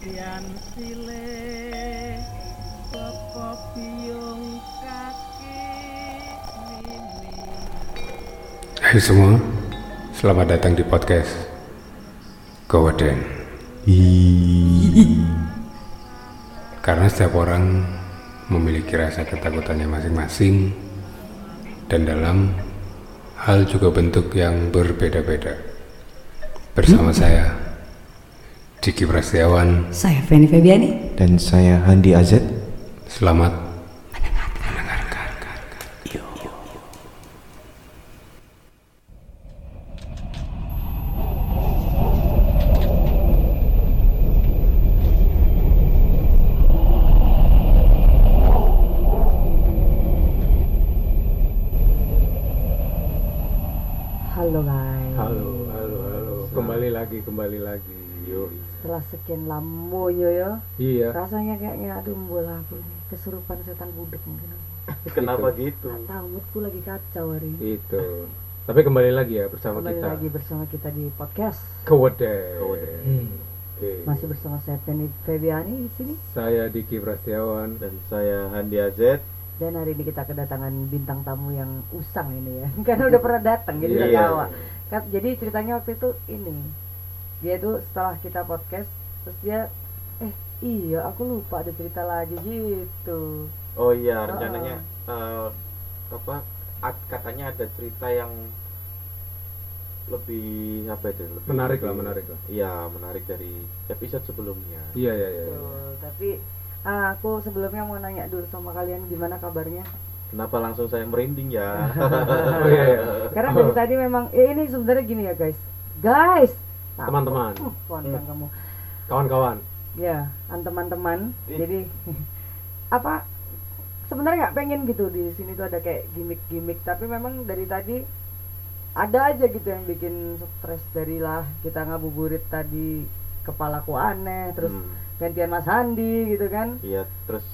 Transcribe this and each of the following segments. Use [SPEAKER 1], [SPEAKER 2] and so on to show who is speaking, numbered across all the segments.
[SPEAKER 1] Sian sile Toko biung kaki mini
[SPEAKER 2] Hai semua, selamat datang di podcast Gowden. Karena setiap orang memiliki rasa ketakutannya masing-masing dan dalam hal juga bentuk yang berbeda-beda. Bersama saya Diki Prasetyawan,
[SPEAKER 3] Saya Feni Febiani.
[SPEAKER 4] dan saya Handi Azad
[SPEAKER 2] selamat
[SPEAKER 5] Halo guys,
[SPEAKER 6] Halo, halo, halo. Kembali lagi, kembali lagi. Yo.
[SPEAKER 5] setelah sekian lamonyo ya,
[SPEAKER 6] Iya.
[SPEAKER 5] rasanya kayaknya aduh bola aku ini kesurupan setan budek mungkin.
[SPEAKER 6] Kenapa gitu?
[SPEAKER 5] Nggak Tahu moodku lagi kacau hari ini.
[SPEAKER 6] Itu. Tapi kembali lagi ya bersama
[SPEAKER 5] Kembali
[SPEAKER 6] kita.
[SPEAKER 5] lagi bersama kita di podcast.
[SPEAKER 6] Kewede. Hmm.
[SPEAKER 5] Masih bersama saya Feni Febiani di sini
[SPEAKER 6] Saya Diki Prasetyawan dan saya Handi Azet.
[SPEAKER 5] dan hari ini kita kedatangan bintang tamu yang usang ini ya. Karena udah pernah datang jadi udah gawa. Kan, jadi ceritanya waktu itu ini. Dia itu setelah kita podcast terus dia eh iya aku lupa ada cerita lagi gitu.
[SPEAKER 7] Oh iya,
[SPEAKER 5] Heeh.
[SPEAKER 7] rencananya eh, apa? ad- katanya ada cerita yang lebih apa itu? Lebih,
[SPEAKER 6] Menarik lah, menarik lah.
[SPEAKER 7] Iya, menarik dari episode sebelumnya.
[SPEAKER 6] Iya, iya, iya.
[SPEAKER 5] Betul, tapi ah, aku sebelumnya mau nanya dulu sama kalian gimana kabarnya.
[SPEAKER 7] Kenapa langsung saya merinding ya?
[SPEAKER 6] Oh, iya, iya.
[SPEAKER 5] Karena dari tadi memang eh, ini sebenarnya gini ya guys, guys.
[SPEAKER 6] Teman-teman.
[SPEAKER 7] Hmm,
[SPEAKER 5] Nah, uh, pontang kamu.
[SPEAKER 6] Kawan-kawan.
[SPEAKER 5] Ya, an teman-teman. Jadi apa? Sebenarnya nggak pengen gitu di sini tuh ada kayak gimmick-gimmick, tapi memang dari tadi ada aja gitu yang bikin stres dari lah kita ngabuburit tadi kepalaku aneh, terus
[SPEAKER 7] Hmm,
[SPEAKER 5] gantian Mas Handi gitu kan.
[SPEAKER 7] Iya, terus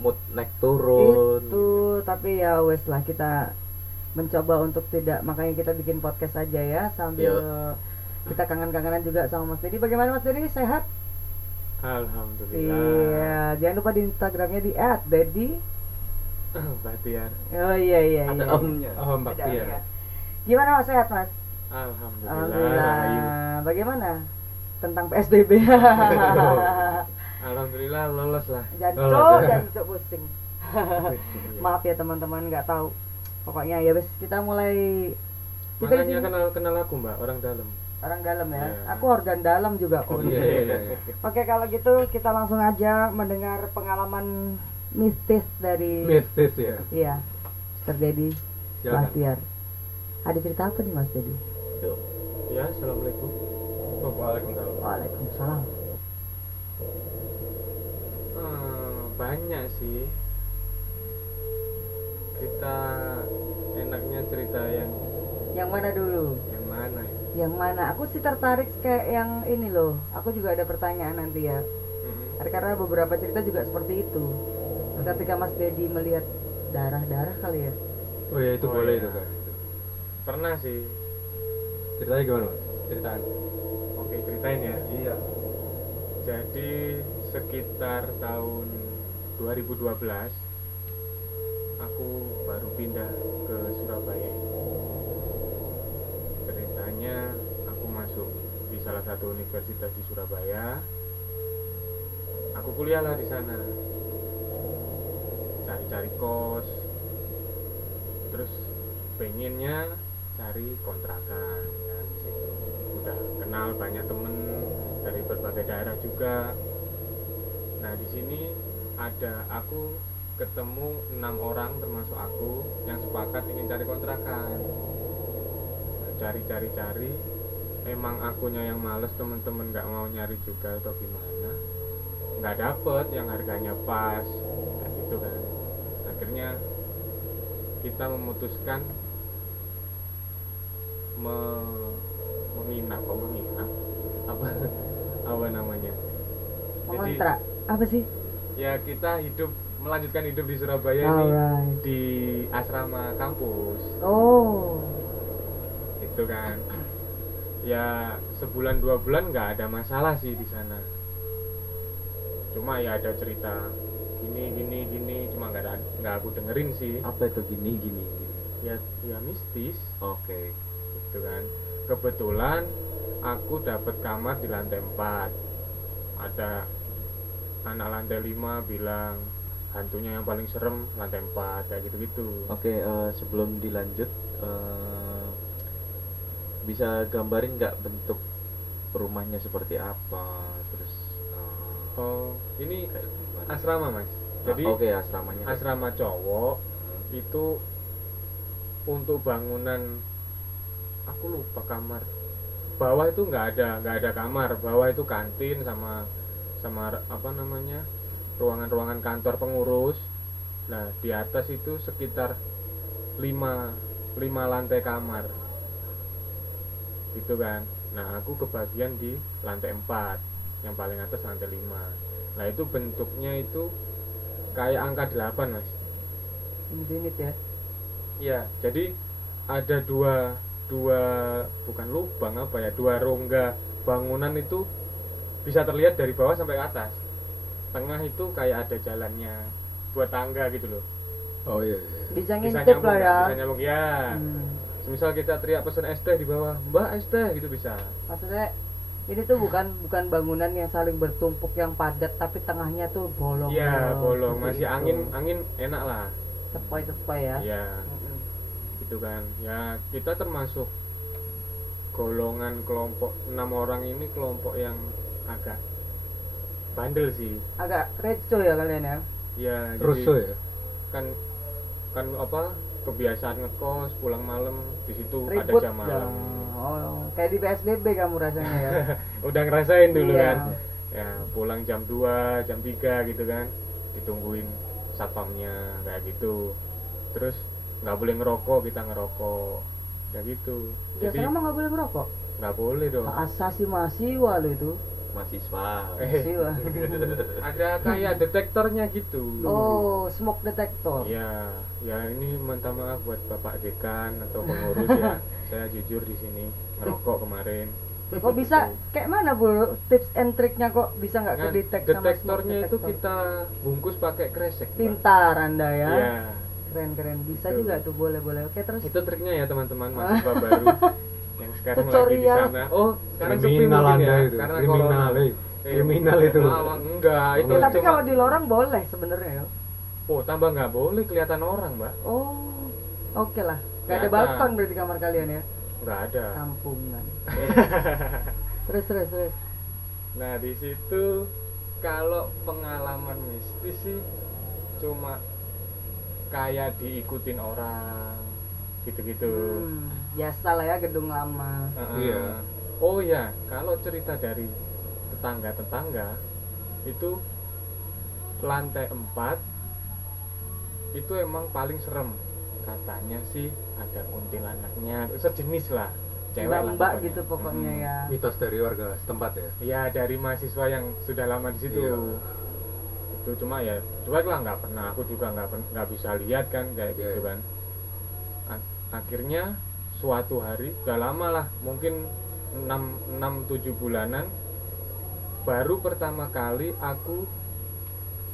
[SPEAKER 7] mood naik turun.
[SPEAKER 5] itu tapi ya wes lah kita mencoba untuk tidak makanya kita bikin podcast aja ya sambil kita kangen-kangenan juga sama Mas Dedi bagaimana Mas Dedi sehat
[SPEAKER 6] Alhamdulillah.
[SPEAKER 5] iya jangan lupa di Instagramnya di @dedi
[SPEAKER 6] Bahtiar.
[SPEAKER 5] oh iya iya
[SPEAKER 7] Ada
[SPEAKER 5] iya
[SPEAKER 7] omnya.
[SPEAKER 6] Oh, Mbak
[SPEAKER 5] Ada
[SPEAKER 6] Tia.
[SPEAKER 5] omnya. gimana Mas sehat Mas
[SPEAKER 6] Alhamdulillah.
[SPEAKER 5] Alhamdulillah bagaimana tentang PSBB
[SPEAKER 6] Alhamdulillah lolos lah.
[SPEAKER 5] jancok jancok pusing
[SPEAKER 6] Iya.
[SPEAKER 5] maaf ya teman-teman nggak tahu pokoknya ya wes kita mulai kita di
[SPEAKER 6] Makanya
[SPEAKER 5] sini-
[SPEAKER 6] kenal kenal aku Mbak, orang dalam.
[SPEAKER 5] orang dalam ya.
[SPEAKER 6] Iya.
[SPEAKER 5] Aku organ dalam juga kok.
[SPEAKER 6] Iya, iya, iya.
[SPEAKER 5] Oke kalau gitu kita langsung aja mendengar pengalaman mistis dari
[SPEAKER 6] Mistis ya.
[SPEAKER 5] iya terjadi
[SPEAKER 6] Silakan.
[SPEAKER 5] Bahtiar. Ada cerita apa nih Mas Dedi?
[SPEAKER 6] Ya, assalamualaikum. Oh, Waalaikumsalam.
[SPEAKER 5] Waalaikumsalam.
[SPEAKER 6] Hmm, banyak sih. Kita enaknya cerita yang
[SPEAKER 5] Yang mana dulu?
[SPEAKER 6] yang mana ya?
[SPEAKER 5] Yang mana? Aku sih tertarik kayak yang ini loh. Aku juga ada pertanyaan nanti ya.
[SPEAKER 6] Mm-mm.
[SPEAKER 5] Karena beberapa cerita juga seperti itu. Ketika Mas Dedi melihat darah-darah kali ya.
[SPEAKER 6] Oh ya itu
[SPEAKER 7] Oh,
[SPEAKER 6] boleh
[SPEAKER 7] iya.
[SPEAKER 6] itu kan.
[SPEAKER 7] Pernah sih.
[SPEAKER 6] Ceritanya gimana mas? Ceritaan.
[SPEAKER 7] Oke, ceritain ya. Iya.
[SPEAKER 6] Jadi sekitar tahun 2012 aku baru pindah ke Surabaya. Ceritanya aku masuk di salah satu universitas di Surabaya. Aku kuliahlah di sana. Cari-cari kos. Terus pengennya cari kontrakan kan di situ. Udah kenal banyak temen dari berbagai daerah juga. Nah di sini ada aku ketemu enam orang termasuk aku yang sepakat ingin cari kontrakan. Nah, Cari cari cari, emang akunya yang males temen-temen nggak mau nyari juga atau gimana? Nggak dapet yang harganya pas, kayak gitu kan. Akhirnya kita memutuskan me- menginap, kok menginap apa apa namanya? Jadi-
[SPEAKER 5] Mengontrak. Apa sih?
[SPEAKER 6] ya kita hidup melanjutkan hidup di Surabaya ini
[SPEAKER 5] Ah, Alright.
[SPEAKER 6] di asrama kampus
[SPEAKER 5] Oh.
[SPEAKER 6] gitu kan ya sebulan dua bulan nggak ada masalah sih di sana cuma ya ada cerita gini gini gini cuma nggak ada- nggak aku dengerin sih
[SPEAKER 7] apa itu gini gini, gini.
[SPEAKER 6] ya ya mistis
[SPEAKER 7] oke
[SPEAKER 6] gitu kan kebetulan aku dapat kamar di lantai 4 ada anak lantai 5 bilang hantunya yang paling serem lantai 4 kayak gitu-gitu
[SPEAKER 7] Oke, eh, sebelum dilanjut, eh, bisa gambarin nggak bentuk rumahnya seperti apa? Terus, eh,
[SPEAKER 6] oh ini
[SPEAKER 7] kayak gimana?
[SPEAKER 6] asrama mas jadi
[SPEAKER 7] Ah, oke asramanya. kayak gitu.
[SPEAKER 6] asrama cowok itu untuk bangunan aku lupa kamar bawah itu nggak ada nggak ada kamar bawah itu kantin sama sama r- apa namanya ruangan-ruangan kantor pengurus nah di atas itu sekitar lima lima lantai kamar gitu kan nah aku kebagian di lantai 4 yang paling atas lantai 5 nah itu bentuknya itu kayak angka 8 mas
[SPEAKER 5] unit ya
[SPEAKER 6] Iya, jadi ada dua dua bukan lubang apa ya dua rongga bangunan itu bisa terlihat dari bawah sampai ke atas. Tengah itu kayak ada jalannya buat tangga gitu loh.
[SPEAKER 7] Oh iya. iya.
[SPEAKER 5] bisa
[SPEAKER 6] Bisa
[SPEAKER 5] ngintip lah
[SPEAKER 6] nyambung,
[SPEAKER 5] ya
[SPEAKER 6] bisa nyambung ya.
[SPEAKER 5] Hmm.
[SPEAKER 6] Semisal kita teriak pesan es teh di bawah, Mbak es teh gitu bisa.
[SPEAKER 5] maksudnya ini tuh bukan bukan bangunan yang saling bertumpuk yang padat tapi tengahnya tuh bolong gitu.
[SPEAKER 6] Iya, bolong masih angin angin enak lah.
[SPEAKER 5] sepoi sepoi ya
[SPEAKER 6] Iya,
[SPEAKER 5] Mm-mm.
[SPEAKER 6] gitu kan. Ya kita termasuk golongan kelompok enam orang ini kelompok yang agak bandel sih.
[SPEAKER 5] agak reco ya kalian ya
[SPEAKER 6] Ya,
[SPEAKER 7] Rusuh
[SPEAKER 6] jadi
[SPEAKER 7] ya?
[SPEAKER 6] kan kan apa kebiasaan ngekos pulang malam di situ ada
[SPEAKER 5] ribut
[SPEAKER 6] jam
[SPEAKER 5] ya.
[SPEAKER 6] malam.
[SPEAKER 5] oh, kayak di PSBB kamu rasanya ya
[SPEAKER 6] Udah ngerasain dulu
[SPEAKER 5] Iya.
[SPEAKER 6] kan. Ya, pulang jam 2, jam 3 gitu kan. Ditungguin satpamnya kayak gitu. Terus nggak boleh ngerokok, kita ngerokok. Kayak gitu.
[SPEAKER 5] ya
[SPEAKER 6] Jadi Oh.
[SPEAKER 5] sekarang mah nggak boleh merokok
[SPEAKER 6] nggak boleh dong.
[SPEAKER 5] hak asasi mahasiswa lo itu
[SPEAKER 7] Mahasiswa.
[SPEAKER 6] Eh,
[SPEAKER 5] mahasiswa
[SPEAKER 6] ada kayak detektornya gitu.
[SPEAKER 5] oh smoke detector
[SPEAKER 6] Ya, ya ini minta maaf buat Bapak Dekan atau pengurus ya. Saya jujur di sini ngerokok kemarin.
[SPEAKER 5] kok Oh, bisa kayak mana bu tips and triknya kok bisa nggak
[SPEAKER 6] Kan
[SPEAKER 5] kedetek sama smoke
[SPEAKER 6] detektornya itu
[SPEAKER 5] detector?
[SPEAKER 6] kita bungkus pakai kresek. Pak.
[SPEAKER 5] pintar anda ya
[SPEAKER 6] Ya,
[SPEAKER 5] keren keren bisa
[SPEAKER 6] Betul.
[SPEAKER 5] juga tuh boleh boleh oke terus
[SPEAKER 6] itu triknya ya teman-teman mahasiswa baru yang sekarang lagi di
[SPEAKER 5] Tutorial.
[SPEAKER 6] sana. Oh, sekarang sepi
[SPEAKER 7] Kriminal
[SPEAKER 6] mungkin
[SPEAKER 7] Anda
[SPEAKER 6] ya,
[SPEAKER 7] itu.
[SPEAKER 6] karena
[SPEAKER 7] Kriminal,
[SPEAKER 6] corona.
[SPEAKER 7] eh. Kriminal itu.
[SPEAKER 6] Awang, enggak, itu
[SPEAKER 5] Ya, tapi
[SPEAKER 6] cuma-
[SPEAKER 5] kalau di lorong boleh sebenarnya ya.
[SPEAKER 6] oh, tambah nggak boleh kelihatan orang, Mbak.
[SPEAKER 5] Oh, oke lah. Gak ada
[SPEAKER 6] Kelihatan.
[SPEAKER 5] balkon berarti kamar kalian ya?
[SPEAKER 6] Nggak ada.
[SPEAKER 5] Kampungan. terus terus terus.
[SPEAKER 6] Nah di situ kalau pengalaman mistis sih cuma kayak diikutin orang gitu-gitu.
[SPEAKER 5] Hmm, biasa lah ya gedung lama.
[SPEAKER 6] Heeh.
[SPEAKER 7] Iya.
[SPEAKER 6] Oh ya kalau cerita dari tetangga-tetangga itu lantai 4 itu emang paling serem katanya sih ada kuntilanaknya sejenis lah cewek lah Hmm.
[SPEAKER 5] Mbak-mbak gitu pokoknya
[SPEAKER 6] Mm-mm.
[SPEAKER 5] ya.
[SPEAKER 7] Mitos dari warga setempat ya.
[SPEAKER 6] Ya dari mahasiswa yang sudah lama di situ.
[SPEAKER 7] Iya.
[SPEAKER 6] Itu cuma ya cuek lah nggak pernah. Aku juga nggak pen- nggak bisa lihat kan kayak
[SPEAKER 7] Iya,
[SPEAKER 6] gitu
[SPEAKER 7] iya.
[SPEAKER 6] kan. A- akhirnya suatu hari udah lama lah mungkin 6 6 7 bulanan baru pertama kali aku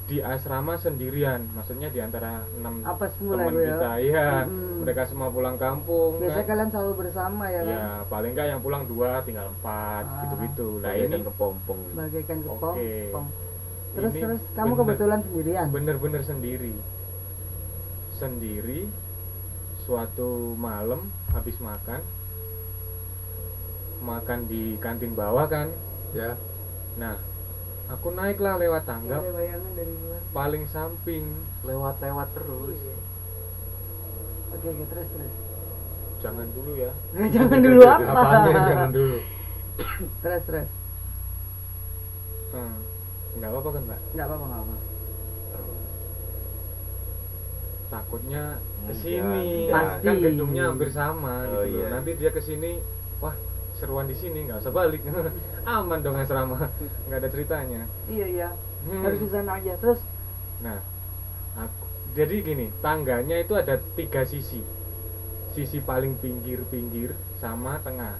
[SPEAKER 6] di asrama sendirian maksudnya di antara 6
[SPEAKER 5] Apa semula
[SPEAKER 6] teman
[SPEAKER 5] gue ya?
[SPEAKER 6] kita ya
[SPEAKER 5] Mm-mm.
[SPEAKER 6] mereka semua pulang kampung kan.
[SPEAKER 5] Biasanya kalian selalu bersama ya kan?
[SPEAKER 6] ya paling nggak yang pulang dua tinggal empat
[SPEAKER 5] Ah.
[SPEAKER 6] gitu-gitu nah ini
[SPEAKER 7] Kayak kan kepompong.
[SPEAKER 5] Bagaikan
[SPEAKER 6] Oke.
[SPEAKER 5] kepong. kepong. Terus
[SPEAKER 6] Ini
[SPEAKER 5] terus kamu
[SPEAKER 6] bener-
[SPEAKER 5] kebetulan sendirian.
[SPEAKER 6] bener-bener sendiri sendiri suatu malam habis makan makan di kantin bawah kan
[SPEAKER 7] Ya.
[SPEAKER 6] nah aku naiklah lewat
[SPEAKER 5] Nggak
[SPEAKER 6] tangga
[SPEAKER 5] ada bayangan dari luar. Iya.
[SPEAKER 6] paling samping
[SPEAKER 7] Lewat-lewat terus.
[SPEAKER 5] Oke oke terus terus.
[SPEAKER 6] jangan dulu ya
[SPEAKER 5] Jangan dulu apa?
[SPEAKER 7] Apanya jangan dulu.
[SPEAKER 5] Terus terus.
[SPEAKER 6] Hmm, nggak apa-apa kan mbak
[SPEAKER 5] Enggak apa-apa nggak apa.
[SPEAKER 6] takutnya
[SPEAKER 7] Enggak,
[SPEAKER 6] kesini
[SPEAKER 7] enggak.
[SPEAKER 6] kan
[SPEAKER 5] Pasti.
[SPEAKER 6] gedungnya hampir sama
[SPEAKER 7] Oh,
[SPEAKER 6] gitu loh.
[SPEAKER 7] iya.
[SPEAKER 6] nanti dia kesini wah seruan di sini nggak usah balik aman dong asrama nggak ada ceritanya
[SPEAKER 5] Iya iya.
[SPEAKER 6] Hmm.
[SPEAKER 5] Harus di sana aja. Terus
[SPEAKER 6] Nah, aku- jadi gini, tangganya itu ada tiga sisi. Sisi paling pinggir-pinggir sama tengah.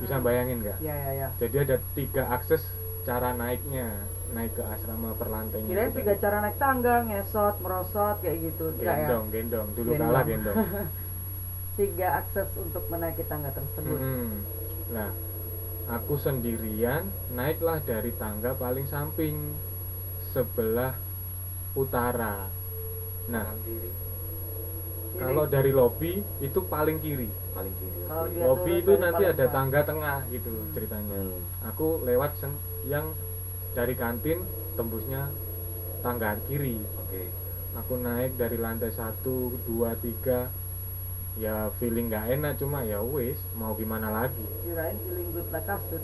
[SPEAKER 6] Bisa
[SPEAKER 5] Hmm.
[SPEAKER 6] bayangin nggak?
[SPEAKER 5] ya ya ya.
[SPEAKER 6] Jadi ada tiga akses cara naiknya. naik ke asrama perlantainya
[SPEAKER 5] kirain
[SPEAKER 6] itu
[SPEAKER 5] tiga
[SPEAKER 6] tadi.
[SPEAKER 5] cara naik tangga ngesot merosot kayak gitu Enggak ya
[SPEAKER 6] gendong gendong dulu
[SPEAKER 5] Gendong.
[SPEAKER 6] kalah gendong
[SPEAKER 5] tiga akses untuk menaiki tangga tersebut
[SPEAKER 6] Mm-mm. nah aku sendirian naiklah dari tangga paling samping sebelah utara nah
[SPEAKER 7] kiri
[SPEAKER 5] Kiri.
[SPEAKER 6] kalau dari lobi itu paling kiri
[SPEAKER 7] paling kiri
[SPEAKER 5] Kalau
[SPEAKER 7] oke.
[SPEAKER 5] dia
[SPEAKER 6] lobi
[SPEAKER 5] turun
[SPEAKER 6] itu
[SPEAKER 5] dari Iya,
[SPEAKER 6] nanti
[SPEAKER 5] paling
[SPEAKER 6] ada
[SPEAKER 5] bawah.
[SPEAKER 6] tangga tengah gitu
[SPEAKER 5] Hmm.
[SPEAKER 6] ceritanya
[SPEAKER 7] Hmm.
[SPEAKER 6] aku lewat seng- yang dari kantin tembusnya tangga kiri
[SPEAKER 7] oke
[SPEAKER 6] aku naik dari lantai 1, 2, 3 ya feeling gak enak cuma ya wis mau gimana lagi
[SPEAKER 5] kirain feeling good like kasut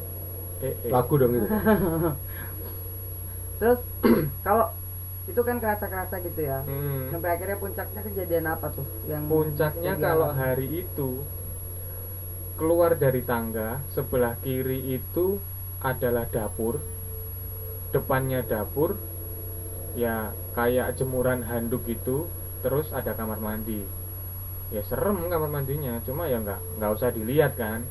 [SPEAKER 6] eh, eh.
[SPEAKER 2] Lagu dong itu.
[SPEAKER 5] terus kalau itu kan kerasa kerasa gitu ya
[SPEAKER 6] Hmm,
[SPEAKER 5] sampai akhirnya puncaknya kejadian apa tuh yang
[SPEAKER 6] puncaknya
[SPEAKER 5] kejadian
[SPEAKER 6] kalau
[SPEAKER 5] apa?
[SPEAKER 6] hari itu keluar dari tangga sebelah kiri itu adalah dapur depannya dapur ya kayak jemuran handuk gitu terus ada kamar mandi ya serem kamar mandinya cuma ya nggak nggak usah dilihat kan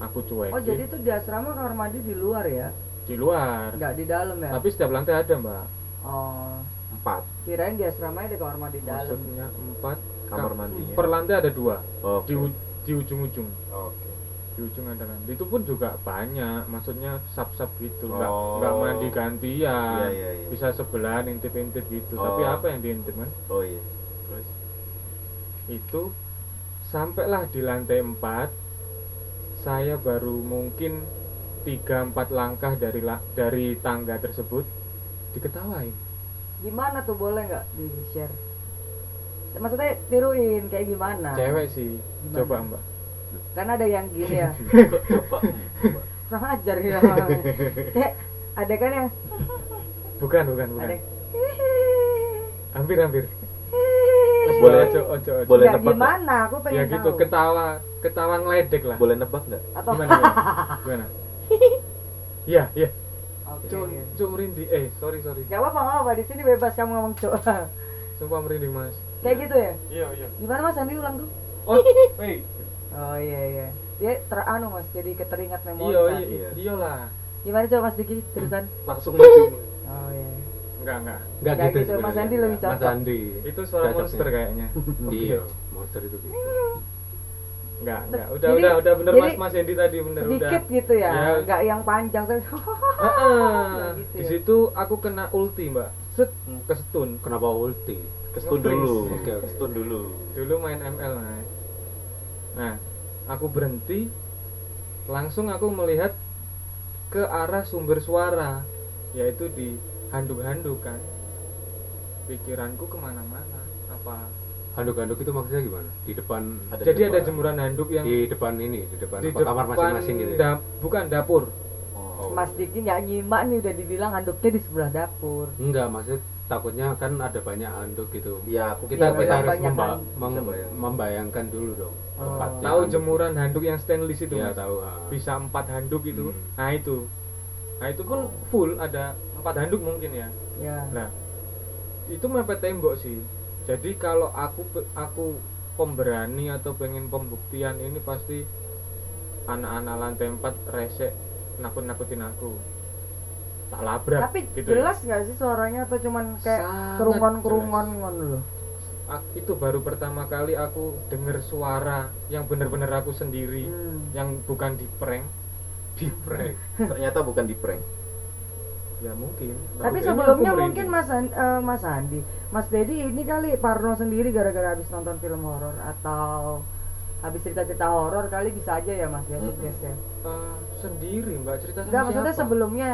[SPEAKER 6] aku cuekin
[SPEAKER 5] oh jadi tuh di asrama kamar mandi di luar ya
[SPEAKER 6] di luar
[SPEAKER 5] nggak di dalam ya
[SPEAKER 6] tapi setiap lantai ada mbak
[SPEAKER 5] oh
[SPEAKER 7] empat
[SPEAKER 5] kirain di asramanya di kamar mandi dalam
[SPEAKER 6] maksudnya empat
[SPEAKER 7] kamar
[SPEAKER 6] Ka-
[SPEAKER 7] mandinya
[SPEAKER 6] per lantai ada dua
[SPEAKER 7] oke
[SPEAKER 6] di, u- di ujung-ujung
[SPEAKER 7] oke
[SPEAKER 6] di ujung ada lantai itu pun juga banyak maksudnya sub-sub gitu nggak
[SPEAKER 7] Oh.
[SPEAKER 6] nggak mandi gantian
[SPEAKER 7] iya iya iya
[SPEAKER 6] bisa sebelah intip-intip gitu tapi
[SPEAKER 7] Oh.
[SPEAKER 6] apa yang diintip kan
[SPEAKER 7] oh iya terus
[SPEAKER 6] itu sampailah di lantai empat saya baru mungkin tiga empat langkah dari la- dari tangga tersebut diketawain
[SPEAKER 5] gimana tuh boleh nggak di share maksudnya tiruin kayak gimana
[SPEAKER 6] cewek sih
[SPEAKER 5] Ah. Gimana?
[SPEAKER 6] coba mbak
[SPEAKER 5] kan ada yang gini ya
[SPEAKER 7] coba
[SPEAKER 5] kurang ajar ya kayak ada kan yang
[SPEAKER 6] bukan bukan bukan
[SPEAKER 5] ada yang,
[SPEAKER 6] hampir hampir
[SPEAKER 7] Boleh.
[SPEAKER 6] ojo ojo ojo
[SPEAKER 7] Boleh
[SPEAKER 5] Ya,
[SPEAKER 7] nebak nggak?
[SPEAKER 5] gimana aku
[SPEAKER 6] ya
[SPEAKER 5] pengen
[SPEAKER 6] gitu
[SPEAKER 5] tahu
[SPEAKER 6] ketawa ketawa ngeledek lah
[SPEAKER 7] boleh nebak nggak
[SPEAKER 5] atau
[SPEAKER 6] gimana gimana, gimana? ya ya
[SPEAKER 5] Oke.
[SPEAKER 6] cuk cuk merinding eh sorry sorry
[SPEAKER 5] Gak apa-apa, gak apa-apa. Di sini bebas kamu ngomong cok.
[SPEAKER 6] Iya. sumpah merinding mas
[SPEAKER 5] Kayak gitu ya?
[SPEAKER 6] iya iya
[SPEAKER 5] Gimana Mas Andi ulang tuh?
[SPEAKER 6] oh wait
[SPEAKER 5] Oh iya iya. Dia teranu Mas, jadi keteringat memori.
[SPEAKER 6] iya
[SPEAKER 5] saat
[SPEAKER 6] iya
[SPEAKER 7] iya.
[SPEAKER 6] iya lah
[SPEAKER 5] itu. Gimana coba Mas Diki terusan?
[SPEAKER 7] langsung maju
[SPEAKER 5] Oh iya.
[SPEAKER 6] enggak enggak
[SPEAKER 2] Enggak
[SPEAKER 5] Nggak
[SPEAKER 2] gitu,
[SPEAKER 5] gitu, Mas
[SPEAKER 2] sebenarnya.
[SPEAKER 5] Andi lebih
[SPEAKER 2] Mas
[SPEAKER 5] cocok.
[SPEAKER 2] Andi.
[SPEAKER 6] itu suara
[SPEAKER 2] Cocoknya.
[SPEAKER 6] monster kayaknya
[SPEAKER 2] Iya, monster itu gitu.
[SPEAKER 6] enggak enggak udah
[SPEAKER 5] Jadi-
[SPEAKER 6] udah udah bener
[SPEAKER 5] jadi
[SPEAKER 6] mas mas Endi tadi bener udah
[SPEAKER 5] Sedikit gitu ya,
[SPEAKER 6] Ya. Oh.
[SPEAKER 5] nggak yang panjang terus.
[SPEAKER 6] Heeh.
[SPEAKER 5] Gitu
[SPEAKER 6] di
[SPEAKER 5] ya. Hmm.
[SPEAKER 6] situ aku kena ulti mbak set kesetun
[SPEAKER 2] Kenapa ulti?
[SPEAKER 7] kestun dulu
[SPEAKER 2] Oke, oke.
[SPEAKER 7] kestun dulu
[SPEAKER 6] dulu main ML Nay. nah aku berhenti langsung aku melihat ke arah sumber suara yaitu di handuk-handuk kan pikiranku kemana-mana apa
[SPEAKER 2] Handuk-handuk itu maksudnya gimana? Di depan
[SPEAKER 7] Ada
[SPEAKER 6] jadi ada
[SPEAKER 7] jemuran.
[SPEAKER 6] jemuran handuk yang
[SPEAKER 2] di depan ini, di depan
[SPEAKER 6] di
[SPEAKER 2] apa, kamar masing-masing gitu. ya?
[SPEAKER 6] dap- bukan dapur
[SPEAKER 7] oh,
[SPEAKER 5] Mas Diki nggak nyimak nih udah dibilang handuknya di sebelah dapur.
[SPEAKER 2] Enggak, maksud takutnya kan ada banyak handuk gitu.
[SPEAKER 7] ya aku
[SPEAKER 2] Kita,
[SPEAKER 5] Iya,
[SPEAKER 2] kita
[SPEAKER 5] banyak-
[SPEAKER 2] harus
[SPEAKER 5] banyak
[SPEAKER 2] memba-
[SPEAKER 5] handuk.
[SPEAKER 2] mem-
[SPEAKER 7] Bisa bayang.
[SPEAKER 2] membayangkan dulu dong.
[SPEAKER 5] Oh.
[SPEAKER 2] tempatnya.
[SPEAKER 6] tahu jemuran handuk yang stainless itu
[SPEAKER 2] Iya,
[SPEAKER 6] Mas?
[SPEAKER 2] tahu. ah.
[SPEAKER 6] bisa empat handuk itu
[SPEAKER 2] Hmm. Oh.
[SPEAKER 6] nah itu nah itu pun full ada empat handuk mungkin ya
[SPEAKER 5] Ya.
[SPEAKER 6] Nah, itu mepet tembok sih. Jadi kalau aku pe- aku pemberani atau pengen pembuktian ini pasti anak-anak lantai 4 resek nakut-nakutin aku. Tak labrak
[SPEAKER 5] Tapi
[SPEAKER 6] gitu. ya.
[SPEAKER 5] jelas nggak sih suaranya atau cuman kayak
[SPEAKER 6] Sangat
[SPEAKER 5] kerungon-kerungon ngono loh.
[SPEAKER 6] jelas. Ak- Itu baru pertama kali aku denger suara yang bener-bener aku sendiri,
[SPEAKER 5] Hmm.
[SPEAKER 6] yang bukan di prank. Di prank.
[SPEAKER 7] ternyata bukan di prank
[SPEAKER 6] Ya mungkin.
[SPEAKER 5] Tapi
[SPEAKER 6] Ini
[SPEAKER 5] sebelumnya
[SPEAKER 6] aku
[SPEAKER 5] mungkin
[SPEAKER 6] merinding.
[SPEAKER 5] Mas An- eh, Mas Andi, Mas Dedi ini kali Parno sendiri gara-gara habis nonton film horor atau habis cerita-cerita horor kali bisa aja ya Mas ya
[SPEAKER 7] Mm-mm.
[SPEAKER 5] suggest ya.
[SPEAKER 6] Eh, sendiri Mbak cerita sama
[SPEAKER 5] Enggak maksudnya
[SPEAKER 6] Hmm. siapa?
[SPEAKER 5] sebelumnya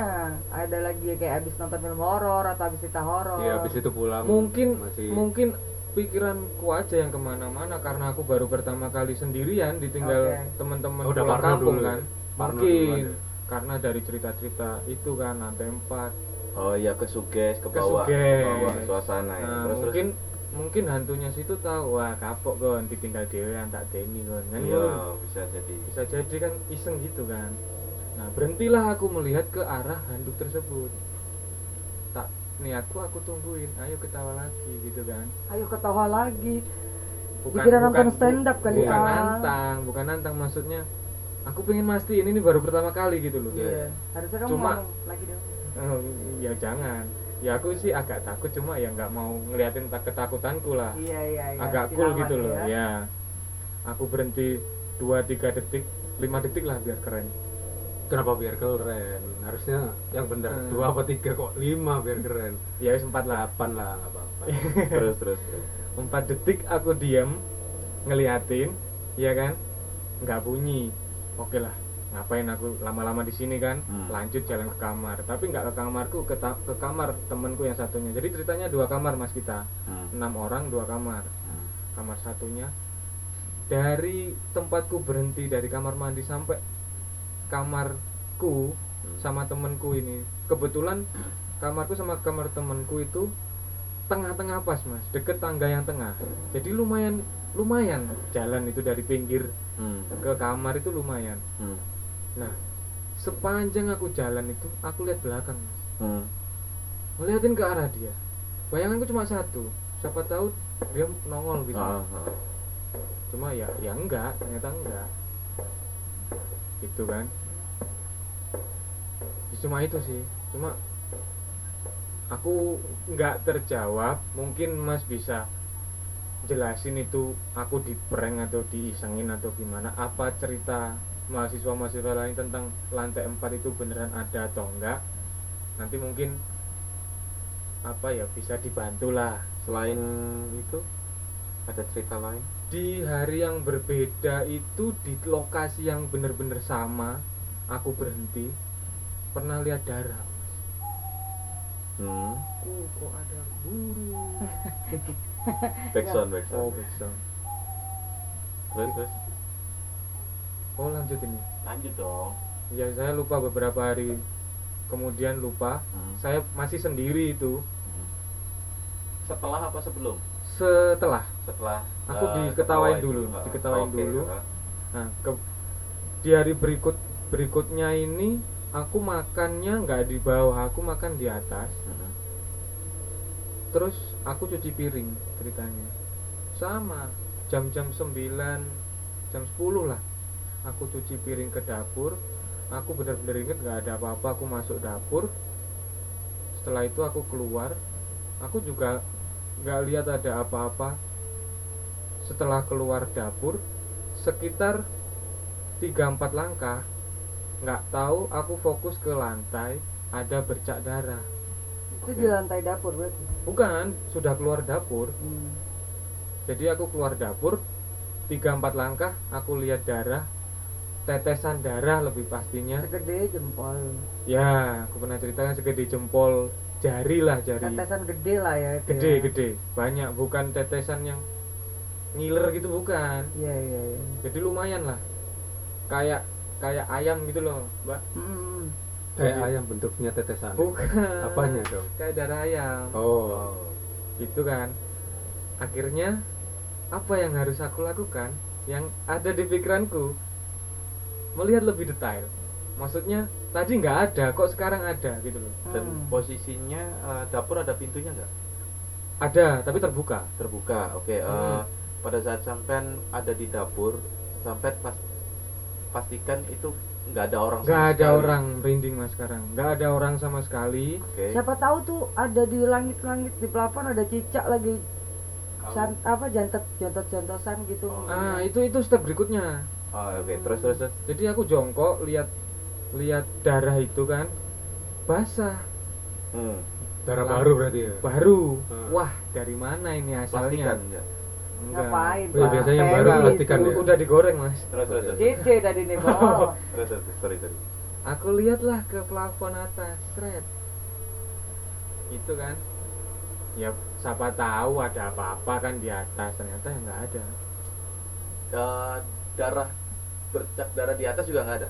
[SPEAKER 5] ada lagi kayak habis nonton film horor atau habis cerita horor.
[SPEAKER 2] Iya, habis itu pulang.
[SPEAKER 6] mungkin
[SPEAKER 2] masih
[SPEAKER 6] mungkin pikiranku aja yang kemana-mana karena aku baru pertama kali sendirian ditinggal
[SPEAKER 5] Oke.
[SPEAKER 6] teman-teman
[SPEAKER 2] Oh, udah
[SPEAKER 6] pulang
[SPEAKER 2] Parno
[SPEAKER 6] kampung
[SPEAKER 2] dulu.
[SPEAKER 6] kan
[SPEAKER 2] Parno
[SPEAKER 6] mungkin
[SPEAKER 2] duluan ya.
[SPEAKER 6] karena dari cerita-cerita itu kan lantai empat
[SPEAKER 7] oh iya ke suges ke bawah
[SPEAKER 6] Kesuges.
[SPEAKER 7] ke bawah suasana ya.
[SPEAKER 6] nah,
[SPEAKER 7] terus
[SPEAKER 6] mungkin mungkin hantunya situ tahu wah kapok kon ditinggal dewean tak deni kon kan
[SPEAKER 7] terus iya
[SPEAKER 6] ngono.
[SPEAKER 7] bisa jadi
[SPEAKER 6] bisa jadi kan iseng gitu kan nah berhentilah aku melihat ke arah handuk tersebut tak niatku aku tungguin ayo ketawa lagi gitu kan
[SPEAKER 5] Ayo ketawa lagi.
[SPEAKER 6] bukan
[SPEAKER 5] Dikira nonton
[SPEAKER 6] bu-
[SPEAKER 5] stand up kali,
[SPEAKER 6] bukan
[SPEAKER 5] ah.
[SPEAKER 6] nantang bukan nantang maksudnya aku pengen mastiin ini baru pertama kali gitu loh
[SPEAKER 2] Iya.
[SPEAKER 5] Harusnya kamu
[SPEAKER 6] Cuma-
[SPEAKER 5] ngomong lagi dong.
[SPEAKER 6] Eh, ya jangan ya aku sih agak takut cuma ya nggak mau ngeliatin tak- ketakutanku lah
[SPEAKER 5] iya iya iya
[SPEAKER 6] agak
[SPEAKER 5] dirawat
[SPEAKER 6] cool gitu loh
[SPEAKER 5] ya.
[SPEAKER 6] ya aku berhenti dua tiga detik lima detik lah biar keren
[SPEAKER 2] Kenapa biar keren? Harusnya yang bener
[SPEAKER 6] Hmm.
[SPEAKER 2] dua apa tiga kok lima biar keren.
[SPEAKER 6] ya wis empat lah
[SPEAKER 2] Delapan lah nggak apa-apa.
[SPEAKER 7] terus terus terus
[SPEAKER 6] empat detik aku diam ngeliatin ya kan nggak bunyi oke lah ngapain aku lama-lama di sini kan
[SPEAKER 7] Hmm.
[SPEAKER 6] lanjut jalan ke kamar tapi nggak ke kamarku ke, ta- ke kamar temanku yang satunya jadi ceritanya dua kamar mas kita
[SPEAKER 7] Hmm,
[SPEAKER 6] enam orang dua kamar
[SPEAKER 7] hmm.
[SPEAKER 6] kamar satunya dari tempatku berhenti dari kamar mandi sampai kamarku sama temenku ini kebetulan kamarku sama kamar temenku itu tengah-tengah pas mas deket tangga yang tengah jadi lumayan lumayan jalan itu dari pinggir
[SPEAKER 7] Hmm,
[SPEAKER 6] ke kamar itu lumayan Nah,
[SPEAKER 7] hmm,
[SPEAKER 6] sepanjang aku jalan itu aku lihat belakang mas
[SPEAKER 7] hmm.
[SPEAKER 6] ngeliatin ke arah dia bayanganku cuma satu siapa tahu dia nongol gitu
[SPEAKER 7] Ah, ah.
[SPEAKER 6] cuma ya ya enggak ternyata enggak gitu kan Ya, cuma itu sih cuma aku nggak terjawab mungkin mas bisa jelasin itu aku di prank atau diisengin atau gimana apa cerita mahasiswa mahasiswa lain tentang lantai 4 itu beneran ada atau enggak nanti mungkin apa ya bisa dibantulah
[SPEAKER 7] selain itu ada cerita lain
[SPEAKER 6] di hari yang berbeda itu di lokasi yang bener-bener sama aku berhenti pernah lihat darah
[SPEAKER 7] hmm.
[SPEAKER 5] Uh,
[SPEAKER 6] aku kok ada burung
[SPEAKER 7] back sound back
[SPEAKER 6] oh
[SPEAKER 7] sound
[SPEAKER 6] background
[SPEAKER 7] terus terus
[SPEAKER 6] oh lanjut ini
[SPEAKER 7] lanjut dong
[SPEAKER 6] ya saya lupa beberapa hari kemudian lupa
[SPEAKER 7] Hmm.
[SPEAKER 6] saya masih sendiri itu
[SPEAKER 7] setelah apa sebelum
[SPEAKER 6] setelah
[SPEAKER 7] setelah
[SPEAKER 6] Aku
[SPEAKER 7] eh,
[SPEAKER 6] diketawain dulu,
[SPEAKER 7] ah,
[SPEAKER 6] diketawain
[SPEAKER 7] oke,
[SPEAKER 6] dulu.
[SPEAKER 7] ah.
[SPEAKER 6] nah ke- di hari berikut berikutnya ini aku makannya nggak di bawah aku makan di atas
[SPEAKER 7] Hmm.
[SPEAKER 6] terus aku cuci piring ceritanya sama jam-jam 9 jam 10 lah aku cuci piring ke dapur aku benar-benar inget nggak ada apa-apa aku masuk dapur setelah itu aku keluar aku juga nggak lihat ada apa-apa setelah keluar dapur sekitar 3-4 langkah nggak tahu aku fokus ke lantai ada bercak darah
[SPEAKER 5] itu di lantai dapur berarti
[SPEAKER 6] bukan sudah keluar dapur jadi aku keluar dapur tiga empat langkah aku lihat darah tetesan darah lebih pastinya
[SPEAKER 5] segede jempol
[SPEAKER 6] ya aku pernah ceritakan segede jempol jari lah jari
[SPEAKER 5] tetesan gede lah ya itu
[SPEAKER 6] gede
[SPEAKER 5] ya.
[SPEAKER 6] gede banyak bukan tetesan yang ngiler gitu bukan
[SPEAKER 5] iya iya iya
[SPEAKER 6] jadi lumayan lah kayak kayak ayam gitu loh mbak Hmm.
[SPEAKER 5] Mm.
[SPEAKER 2] Kayak ayam bentuknya tetesan.
[SPEAKER 6] bukan
[SPEAKER 2] Apanya dong?
[SPEAKER 6] kayak darah ayam
[SPEAKER 2] Oh,
[SPEAKER 6] gitu kan akhirnya apa yang harus aku lakukan yang ada di pikiranku melihat lebih detail maksudnya tadi nggak ada kok sekarang ada gitu loh
[SPEAKER 7] dan
[SPEAKER 5] Hmm.
[SPEAKER 7] posisinya eh, dapur ada pintunya nggak
[SPEAKER 6] ada tapi terbuka
[SPEAKER 7] terbuka oke eh,
[SPEAKER 6] Hmm.
[SPEAKER 7] pada saat sampean ada di dapur sampean pas pastikan itu nggak ada orang
[SPEAKER 6] nggak
[SPEAKER 7] sama
[SPEAKER 6] ada
[SPEAKER 7] sekali.
[SPEAKER 6] orang merinding mas sekarang nggak ada orang sama sekali
[SPEAKER 7] oke
[SPEAKER 5] Eh. siapa tahu tuh ada di langit-langit di pelapon ada cicak lagi san, apa jantet jantot jantosan gitu
[SPEAKER 7] Oh.
[SPEAKER 6] ah itu itu step berikutnya
[SPEAKER 7] Oh, oke terus terus terus
[SPEAKER 6] jadi aku jongkok lihat lihat darah itu kan basah
[SPEAKER 7] hmm.
[SPEAKER 2] darah
[SPEAKER 6] Lah.
[SPEAKER 2] baru berarti ya.
[SPEAKER 6] baru
[SPEAKER 2] Hmm.
[SPEAKER 6] wah dari mana ini
[SPEAKER 7] plastikan
[SPEAKER 6] asalnya
[SPEAKER 7] nggak?
[SPEAKER 6] Enggak.
[SPEAKER 5] ngapain
[SPEAKER 2] Oh, iya,
[SPEAKER 5] Pak?
[SPEAKER 2] biasanya yang
[SPEAKER 5] Kayak
[SPEAKER 2] baru
[SPEAKER 5] gitu.
[SPEAKER 2] plastikan ya?
[SPEAKER 6] udah digoreng mas
[SPEAKER 7] terus terus terus
[SPEAKER 5] Cece tadi nih bawa
[SPEAKER 7] terus terus terus sorry sorry
[SPEAKER 6] Aku lihatlah ke plafon atas, seret. Itu kan. Ya, siapa tahu ada apa-apa kan di atas. Ternyata ya nggak ada.
[SPEAKER 7] Eh, darah bercak darah di atas juga nggak ada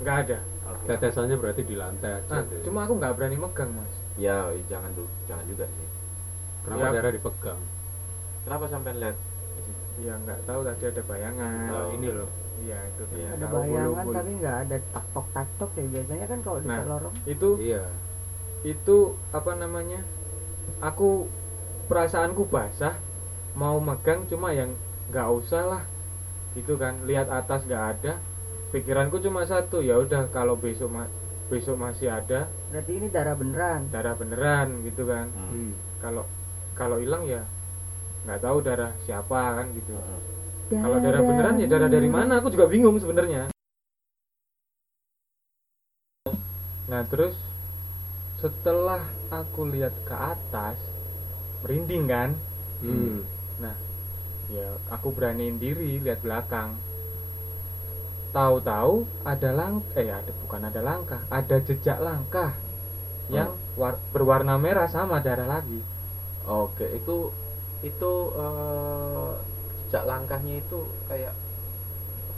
[SPEAKER 6] Nggak ada.
[SPEAKER 7] oke
[SPEAKER 2] Tetesannya berarti di lantai aja.
[SPEAKER 6] Ah,
[SPEAKER 2] deh.
[SPEAKER 6] cuma aku nggak berani megang, Mas.
[SPEAKER 7] ya jangan dulu jangan juga sih
[SPEAKER 2] Kenapa
[SPEAKER 6] Ya.
[SPEAKER 2] darah dipegang?
[SPEAKER 7] kenapa sampean lihat
[SPEAKER 6] Ya nggak tahu tadi ada bayangan.
[SPEAKER 7] Oh.
[SPEAKER 2] Oh, ini loh.
[SPEAKER 6] Iya, itu
[SPEAKER 7] Iya.
[SPEAKER 6] ternyata
[SPEAKER 5] ada
[SPEAKER 6] aku
[SPEAKER 5] bayangan
[SPEAKER 6] bulu-bulu.
[SPEAKER 5] tapi nggak ada taktok taktok ya biasanya kan kalau di
[SPEAKER 6] Nah.
[SPEAKER 5] lorong
[SPEAKER 6] Itu
[SPEAKER 2] Iya.
[SPEAKER 6] itu apa namanya? Aku perasaanku basah mau megang cuma yang nggak usah lah gitu kan lihat atas nggak ada pikiranku cuma satu ya udah kalau besok ma- besok masih ada
[SPEAKER 5] berarti ini darah beneran
[SPEAKER 6] darah beneran gitu kan
[SPEAKER 7] Hmm.
[SPEAKER 2] Hmm.
[SPEAKER 6] kalau kalau hilang ya nggak tahu darah siapa kan gitu
[SPEAKER 7] Hmm.
[SPEAKER 6] kalau darah beneran ya darah dari mana aku juga bingung sebenarnya nah terus setelah aku lihat ke atas merinding kan Nah,
[SPEAKER 2] Hmm.
[SPEAKER 6] ya aku beraniin diri lihat belakang tahu-tahu ada lang eh ada bukan ada langkah ada jejak langkah yang war- berwarna merah sama darah lagi
[SPEAKER 7] Oke, itu itu eh, jejak langkahnya itu kayak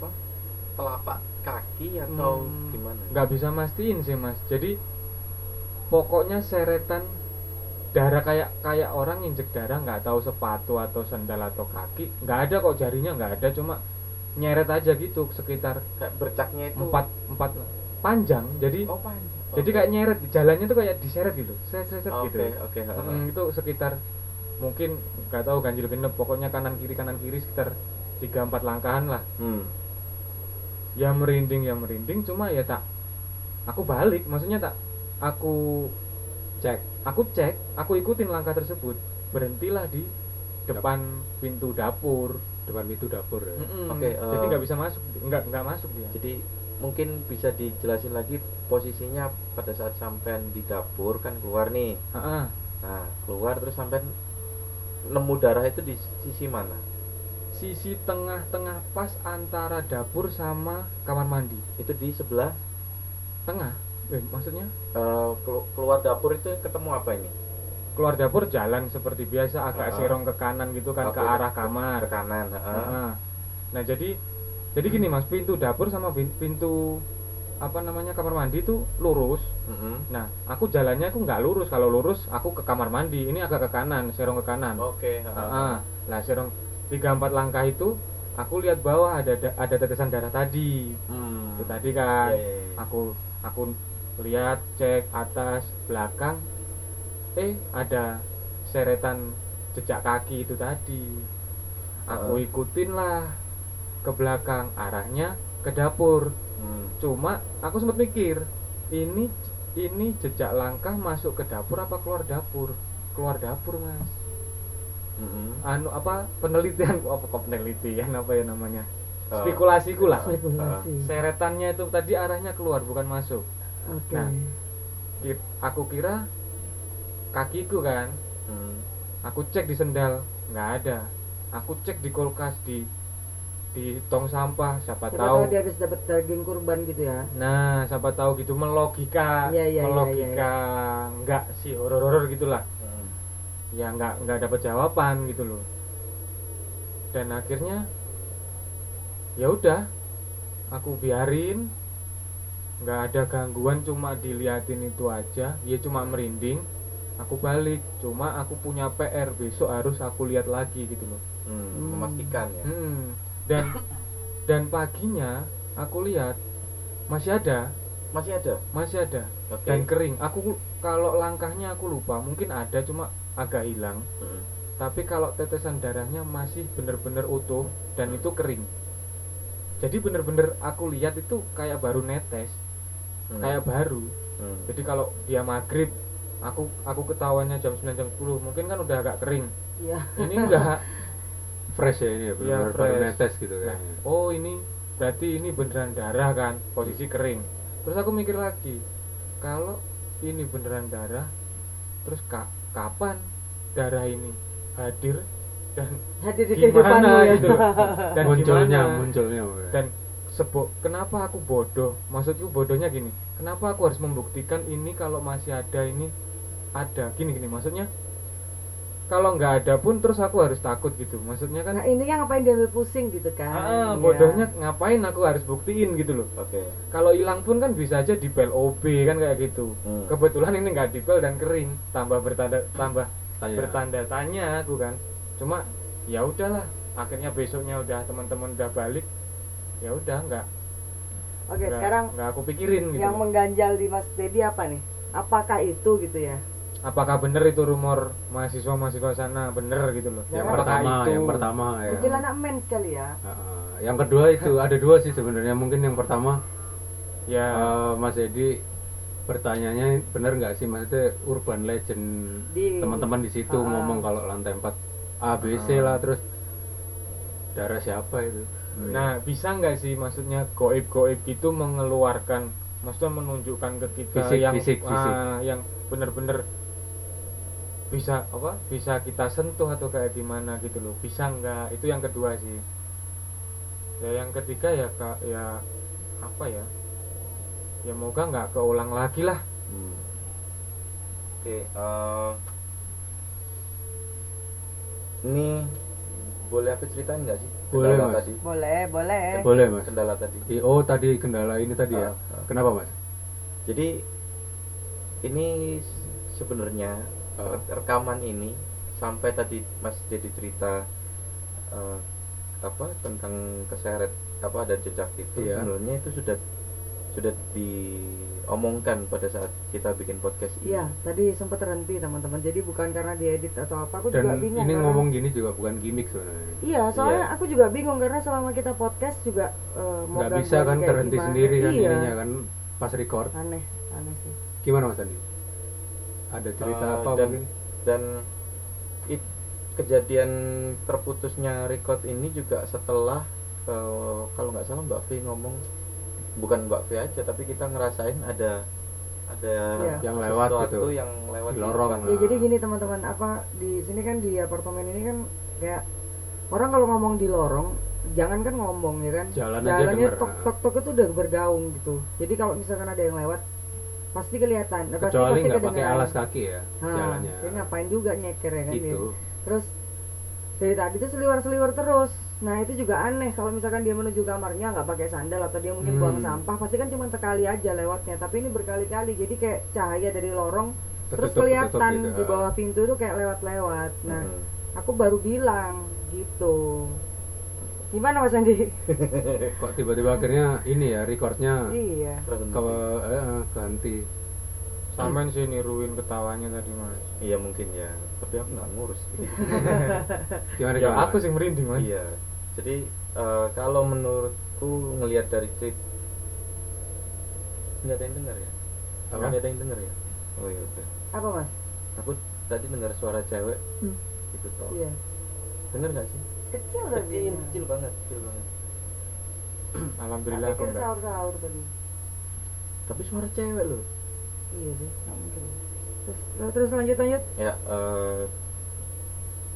[SPEAKER 7] apa? Telapak kaki atau
[SPEAKER 6] Hmm,
[SPEAKER 7] gimana?
[SPEAKER 6] nggak bisa mastiin sih mas jadi pokoknya seretan darah kayak kayak orang injek darah nggak tahu sepatu atau sendal atau kaki nggak ada kok jarinya nggak ada cuma nyeret aja gitu sekitar
[SPEAKER 7] Kayak bercaknya itu
[SPEAKER 6] empat empat panjang jadi
[SPEAKER 7] Oh, panjang.
[SPEAKER 6] jadi
[SPEAKER 7] Oke.
[SPEAKER 6] kayak nyeret jalannya tuh kayak diseret gitu seret seret seret gitu
[SPEAKER 7] Oke, oke. ha, ha.
[SPEAKER 6] Mm, itu sekitar mungkin nggak tahu ganjil genep pokoknya kanan kiri kanan kiri sekitar tiga empat langkahan lah
[SPEAKER 7] Hmm.
[SPEAKER 6] ya merinding ya merinding cuma ya tak aku balik maksudnya tak aku cek aku cek aku ikutin langkah tersebut berhentilah di depan pintu dapur
[SPEAKER 2] Depan pintu dapur ya.
[SPEAKER 6] Mm-mm.
[SPEAKER 7] Oke,
[SPEAKER 6] jadi
[SPEAKER 7] eh,
[SPEAKER 6] nggak bisa masuk nggak nggak masuk dia
[SPEAKER 7] Jadi mungkin bisa dijelasin lagi posisinya pada saat sampean di dapur kan keluar nih.
[SPEAKER 6] Ah, ah.
[SPEAKER 7] Nah, keluar terus sampean nemu darah itu di sisi mana?
[SPEAKER 6] sisi tengah-tengah pas antara dapur sama kamar mandi
[SPEAKER 7] Itu di sebelah
[SPEAKER 6] tengah eh, maksudnya
[SPEAKER 7] eh, kelu- keluar dapur itu ketemu apa ini?
[SPEAKER 6] keluar dapur jalan seperti biasa agak
[SPEAKER 7] Ah.
[SPEAKER 6] serong ke kanan gitu kan ke
[SPEAKER 7] Oke.
[SPEAKER 6] arah kamar
[SPEAKER 7] Ke kanan. ha, ha.
[SPEAKER 6] Nah, nah jadi jadi gini mas pintu dapur sama bin- pintu apa namanya kamar mandi itu lurus.
[SPEAKER 7] Mm-mm.
[SPEAKER 6] Nah aku jalannya aku nggak lurus kalau lurus aku ke kamar mandi ini agak ke kanan serong ke kanan.
[SPEAKER 7] Oke. ha, ha.
[SPEAKER 6] Ah, lah serong tiga empat langkah itu aku lihat bawah ada da- ada tetesan darah tadi
[SPEAKER 7] Hmm.
[SPEAKER 6] itu tadi kan
[SPEAKER 7] Ya, ya, ya.
[SPEAKER 6] aku aku lihat cek atas belakang eh ada seretan jejak kaki itu tadi aku
[SPEAKER 7] Heeh.
[SPEAKER 6] ikutin lah ke belakang arahnya ke dapur
[SPEAKER 7] Hmm.
[SPEAKER 6] cuma aku sempat mikir ini ini jejak langkah masuk ke dapur apa keluar dapur keluar dapur mas
[SPEAKER 7] Mm-mm.
[SPEAKER 6] anu apa penelitian apa kok penelitian apa ya namanya
[SPEAKER 7] Eh,
[SPEAKER 6] spekulasiku lah
[SPEAKER 5] spekulasi
[SPEAKER 6] seretannya itu tadi arahnya keluar bukan masuk
[SPEAKER 5] oke
[SPEAKER 6] Nah. Ki- aku kira kakiku kan
[SPEAKER 7] hmm.
[SPEAKER 6] aku cek di sendal nggak ada aku cek di kulkas di di tong sampah
[SPEAKER 5] siapa
[SPEAKER 6] siapa
[SPEAKER 5] tahu
[SPEAKER 6] tahu
[SPEAKER 5] dia habis dapat daging kurban gitu ya
[SPEAKER 6] nah siapa tahu gitu melogika
[SPEAKER 5] Iya, iya, iya,
[SPEAKER 6] melogika nggak sih horor horor gitulah
[SPEAKER 7] Hmm.
[SPEAKER 6] ya nggak nggak dapat jawaban gitu loh dan akhirnya ya udah aku biarin nggak ada gangguan cuma diliatin itu aja ya cuma merinding aku balik cuma aku punya PR besok harus aku lihat lagi gitu loh
[SPEAKER 7] Hmm. Memastikan ya.
[SPEAKER 6] Hmm, dan dan paginya aku lihat masih ada
[SPEAKER 7] Masih ada.
[SPEAKER 6] masih ada
[SPEAKER 7] Oke.
[SPEAKER 6] dan kering aku kalau langkahnya aku lupa mungkin ada cuma agak hilang
[SPEAKER 7] Hmm.
[SPEAKER 6] tapi kalau tetesan darahnya masih bener-bener utuh dan itu kering jadi bener-bener aku lihat itu kayak baru netes
[SPEAKER 7] Hmm.
[SPEAKER 6] kayak baru
[SPEAKER 7] Hmm.
[SPEAKER 6] jadi kalau dia maghrib aku aku ketahuannya jam 9 jam 10 mungkin kan udah agak kering
[SPEAKER 5] Iya.
[SPEAKER 6] ini udah
[SPEAKER 2] Fresh ya ini ya, benar-benar baru
[SPEAKER 6] fresh.
[SPEAKER 2] netes gitu
[SPEAKER 6] Nah,
[SPEAKER 2] kayaknya.
[SPEAKER 6] oh ini berarti ini beneran darah kan posisi kering terus aku mikir lagi kalau ini beneran darah terus ka- kapan darah ini hadir dan
[SPEAKER 5] hadir di kehidupanmu
[SPEAKER 6] gimana
[SPEAKER 5] ya
[SPEAKER 6] gitu loh. dan
[SPEAKER 2] munculnya,
[SPEAKER 6] gimana?
[SPEAKER 2] munculnya. Bu, ya.
[SPEAKER 6] Dan- Sebo- kenapa aku bodoh maksudku bodohnya gini kenapa aku harus membuktikan ini kalau masih ada ini ada gini gini maksudnya kalau nggak ada pun terus aku harus takut gitu maksudnya
[SPEAKER 5] nah
[SPEAKER 6] kan
[SPEAKER 5] ini kan ngapain diambil pusing gitu kan
[SPEAKER 6] ah,
[SPEAKER 5] Iya.
[SPEAKER 6] bodohnya ngapain aku harus buktiin gitu loh
[SPEAKER 7] Oke.
[SPEAKER 6] kalau hilang pun kan bisa aja dipel OB kan kayak gitu
[SPEAKER 7] Hmm.
[SPEAKER 6] kebetulan ini nggak dipel dan kering tambah bertanda tambah
[SPEAKER 7] Iya.
[SPEAKER 2] Tanya.
[SPEAKER 6] bertanda tanya aku kan cuma ya udahlah akhirnya besoknya udah teman-teman udah balik ya udah nggak
[SPEAKER 5] oke
[SPEAKER 6] nggak-
[SPEAKER 5] sekarang
[SPEAKER 6] nggak aku pikirin gitu
[SPEAKER 5] yang mengganjal di Mas Dedi apa nih apakah itu gitu ya
[SPEAKER 6] apakah bener itu rumor mahasiswa mahasiswa sana bener gitu loh
[SPEAKER 2] yang
[SPEAKER 6] Apakah
[SPEAKER 2] pertama,
[SPEAKER 6] itu
[SPEAKER 2] yang pertama ya.
[SPEAKER 5] mungkin anak men sekali ya
[SPEAKER 2] Heeh. yang kedua itu ada dua sih sebenarnya mungkin yang pertama
[SPEAKER 6] ya
[SPEAKER 2] eh, Mas Edi bertanyanya bener nggak sih maksudnya urban legend
[SPEAKER 5] di
[SPEAKER 2] teman-teman di situ
[SPEAKER 5] Ah.
[SPEAKER 2] ngomong kalau lantai 4 ABC
[SPEAKER 6] Ah.
[SPEAKER 2] lah terus darah siapa itu
[SPEAKER 7] Mm.
[SPEAKER 6] Nah, bisa nggak sih maksudnya goib-goib itu mengeluarkan, maksudnya menunjukkan ke kita
[SPEAKER 2] Fisik,
[SPEAKER 6] yang
[SPEAKER 2] fisik,
[SPEAKER 6] ah,
[SPEAKER 2] fisik.
[SPEAKER 6] yang benar-benar bisa apa? Bisa kita sentuh atau kayak gimana gitu loh. Bisa nggak? Itu yang kedua sih. Ya yang ketiga ya kak ya apa ya? Ya moga nggak keulang lagi lah.
[SPEAKER 7] Hmm. Oke, eh, ini boleh aku ceritain nggak sih
[SPEAKER 2] Boleh,
[SPEAKER 7] kendala
[SPEAKER 2] Mas.
[SPEAKER 7] tadi?
[SPEAKER 5] boleh boleh
[SPEAKER 2] Ya, boleh mas
[SPEAKER 7] Kendala tadi.
[SPEAKER 6] Iya,
[SPEAKER 2] Eh, oh tadi kendala ini tadi ya
[SPEAKER 7] Ah, ah.
[SPEAKER 2] kenapa mas
[SPEAKER 7] Jadi ini s- sebenarnya
[SPEAKER 2] Ah.
[SPEAKER 7] re- rekaman ini sampai tadi Mas jadi cerita eh, apa tentang keseret apa ada jejak itu
[SPEAKER 2] Iya.
[SPEAKER 7] sebenarnya itu sudah sudah diomongkan pada saat kita bikin podcast ini.
[SPEAKER 5] iya tadi sempat terhenti teman-teman jadi bukan karena diedit atau apa aku juga
[SPEAKER 2] dan
[SPEAKER 5] bingung
[SPEAKER 2] ini
[SPEAKER 5] karena-
[SPEAKER 2] ngomong gini juga bukan gimmick sebenarnya
[SPEAKER 5] iya soalnya aku juga bingung karena selama kita podcast juga eh, mau
[SPEAKER 2] nggak bisa
[SPEAKER 5] gangguan
[SPEAKER 2] kan
[SPEAKER 5] kayak
[SPEAKER 2] terhenti
[SPEAKER 5] gimana.
[SPEAKER 2] sendiri kan
[SPEAKER 5] iya.
[SPEAKER 2] ininya kan pas record
[SPEAKER 5] aneh aneh sih
[SPEAKER 2] gimana mas Andi ada cerita
[SPEAKER 5] Ah,
[SPEAKER 7] Eh,
[SPEAKER 2] apa
[SPEAKER 7] dan-
[SPEAKER 2] mungkin
[SPEAKER 7] dan it- kejadian terputusnya record ini juga setelah eh, kalau nggak salah Mbak Fi ngomong bukan Mbak Fi aja tapi kita ngerasain ada ada
[SPEAKER 5] Iya.
[SPEAKER 2] Yang lewat
[SPEAKER 7] sesuatu
[SPEAKER 2] gitu.
[SPEAKER 7] yang lewat
[SPEAKER 2] Di lorong.
[SPEAKER 7] depan.
[SPEAKER 5] ya jadi gini teman-teman apa di sini kan di apartemen ini kan kayak orang kalau ngomong di lorong jangan kan ngomong ya kan
[SPEAKER 2] Jalan aja
[SPEAKER 5] jalannya
[SPEAKER 2] denger.
[SPEAKER 5] tok tok tok itu udah bergaung gitu jadi kalau misalkan ada yang lewat pasti kelihatan eh, pasti
[SPEAKER 2] kecuali
[SPEAKER 5] pasti
[SPEAKER 2] nggak pakai
[SPEAKER 5] kedengeran.
[SPEAKER 2] alas kaki ya
[SPEAKER 5] Nah,
[SPEAKER 2] jalannya
[SPEAKER 5] jadi ngapain juga nyeker ya kan dia.
[SPEAKER 2] gitu
[SPEAKER 5] terus dari tadi tuh seliwar-seliwar terus nah itu juga aneh kalau misalkan dia menuju kamarnya nggak pakai sandal atau dia mungkin
[SPEAKER 2] Hmm.
[SPEAKER 5] buang sampah pasti kan cuma sekali aja lewatnya tapi ini berkali-kali jadi kayak cahaya dari lorong terus
[SPEAKER 2] Ketutup-ketutup
[SPEAKER 5] kelihatan
[SPEAKER 2] gitu.
[SPEAKER 5] di bawah pintu itu kayak lewat-lewat nah
[SPEAKER 7] iya. Hmm.
[SPEAKER 5] aku baru bilang gitu gimana mas Andi
[SPEAKER 2] kok tiba-tiba akhirnya ini ya recordnya
[SPEAKER 5] iya
[SPEAKER 7] Terhenti.
[SPEAKER 2] ke eh, ganti
[SPEAKER 6] Samen sih niruin ketawanya tadi mas.
[SPEAKER 7] iya mungkin ya tapi aku nggak ngurus
[SPEAKER 2] gimana
[SPEAKER 6] Ya
[SPEAKER 2] gimana,
[SPEAKER 6] aku
[SPEAKER 2] Iya, Mas?
[SPEAKER 6] sih merinding mas.
[SPEAKER 7] iya jadi eh, kalau menurutku ngelihat dari cerita nggak ada yang dengar ya
[SPEAKER 2] Apa?
[SPEAKER 7] nggak ada yang dengar ya oh iya udah
[SPEAKER 5] apa mas
[SPEAKER 7] aku tadi dengar suara cewek
[SPEAKER 5] Hmm.
[SPEAKER 7] itu toh
[SPEAKER 5] iya Oh,
[SPEAKER 7] Bener gak sih?
[SPEAKER 5] kecil tadi
[SPEAKER 7] Kecil, kecil banget, kecil banget.
[SPEAKER 6] Alhamdulillah
[SPEAKER 5] Aku
[SPEAKER 6] aku
[SPEAKER 5] pikir
[SPEAKER 6] nggak.
[SPEAKER 5] sahur-sahur tadi
[SPEAKER 7] Tapi suara cewek loh.
[SPEAKER 5] iya sih nggak mungkin terus terus lanjut lanjut
[SPEAKER 7] Ya, eh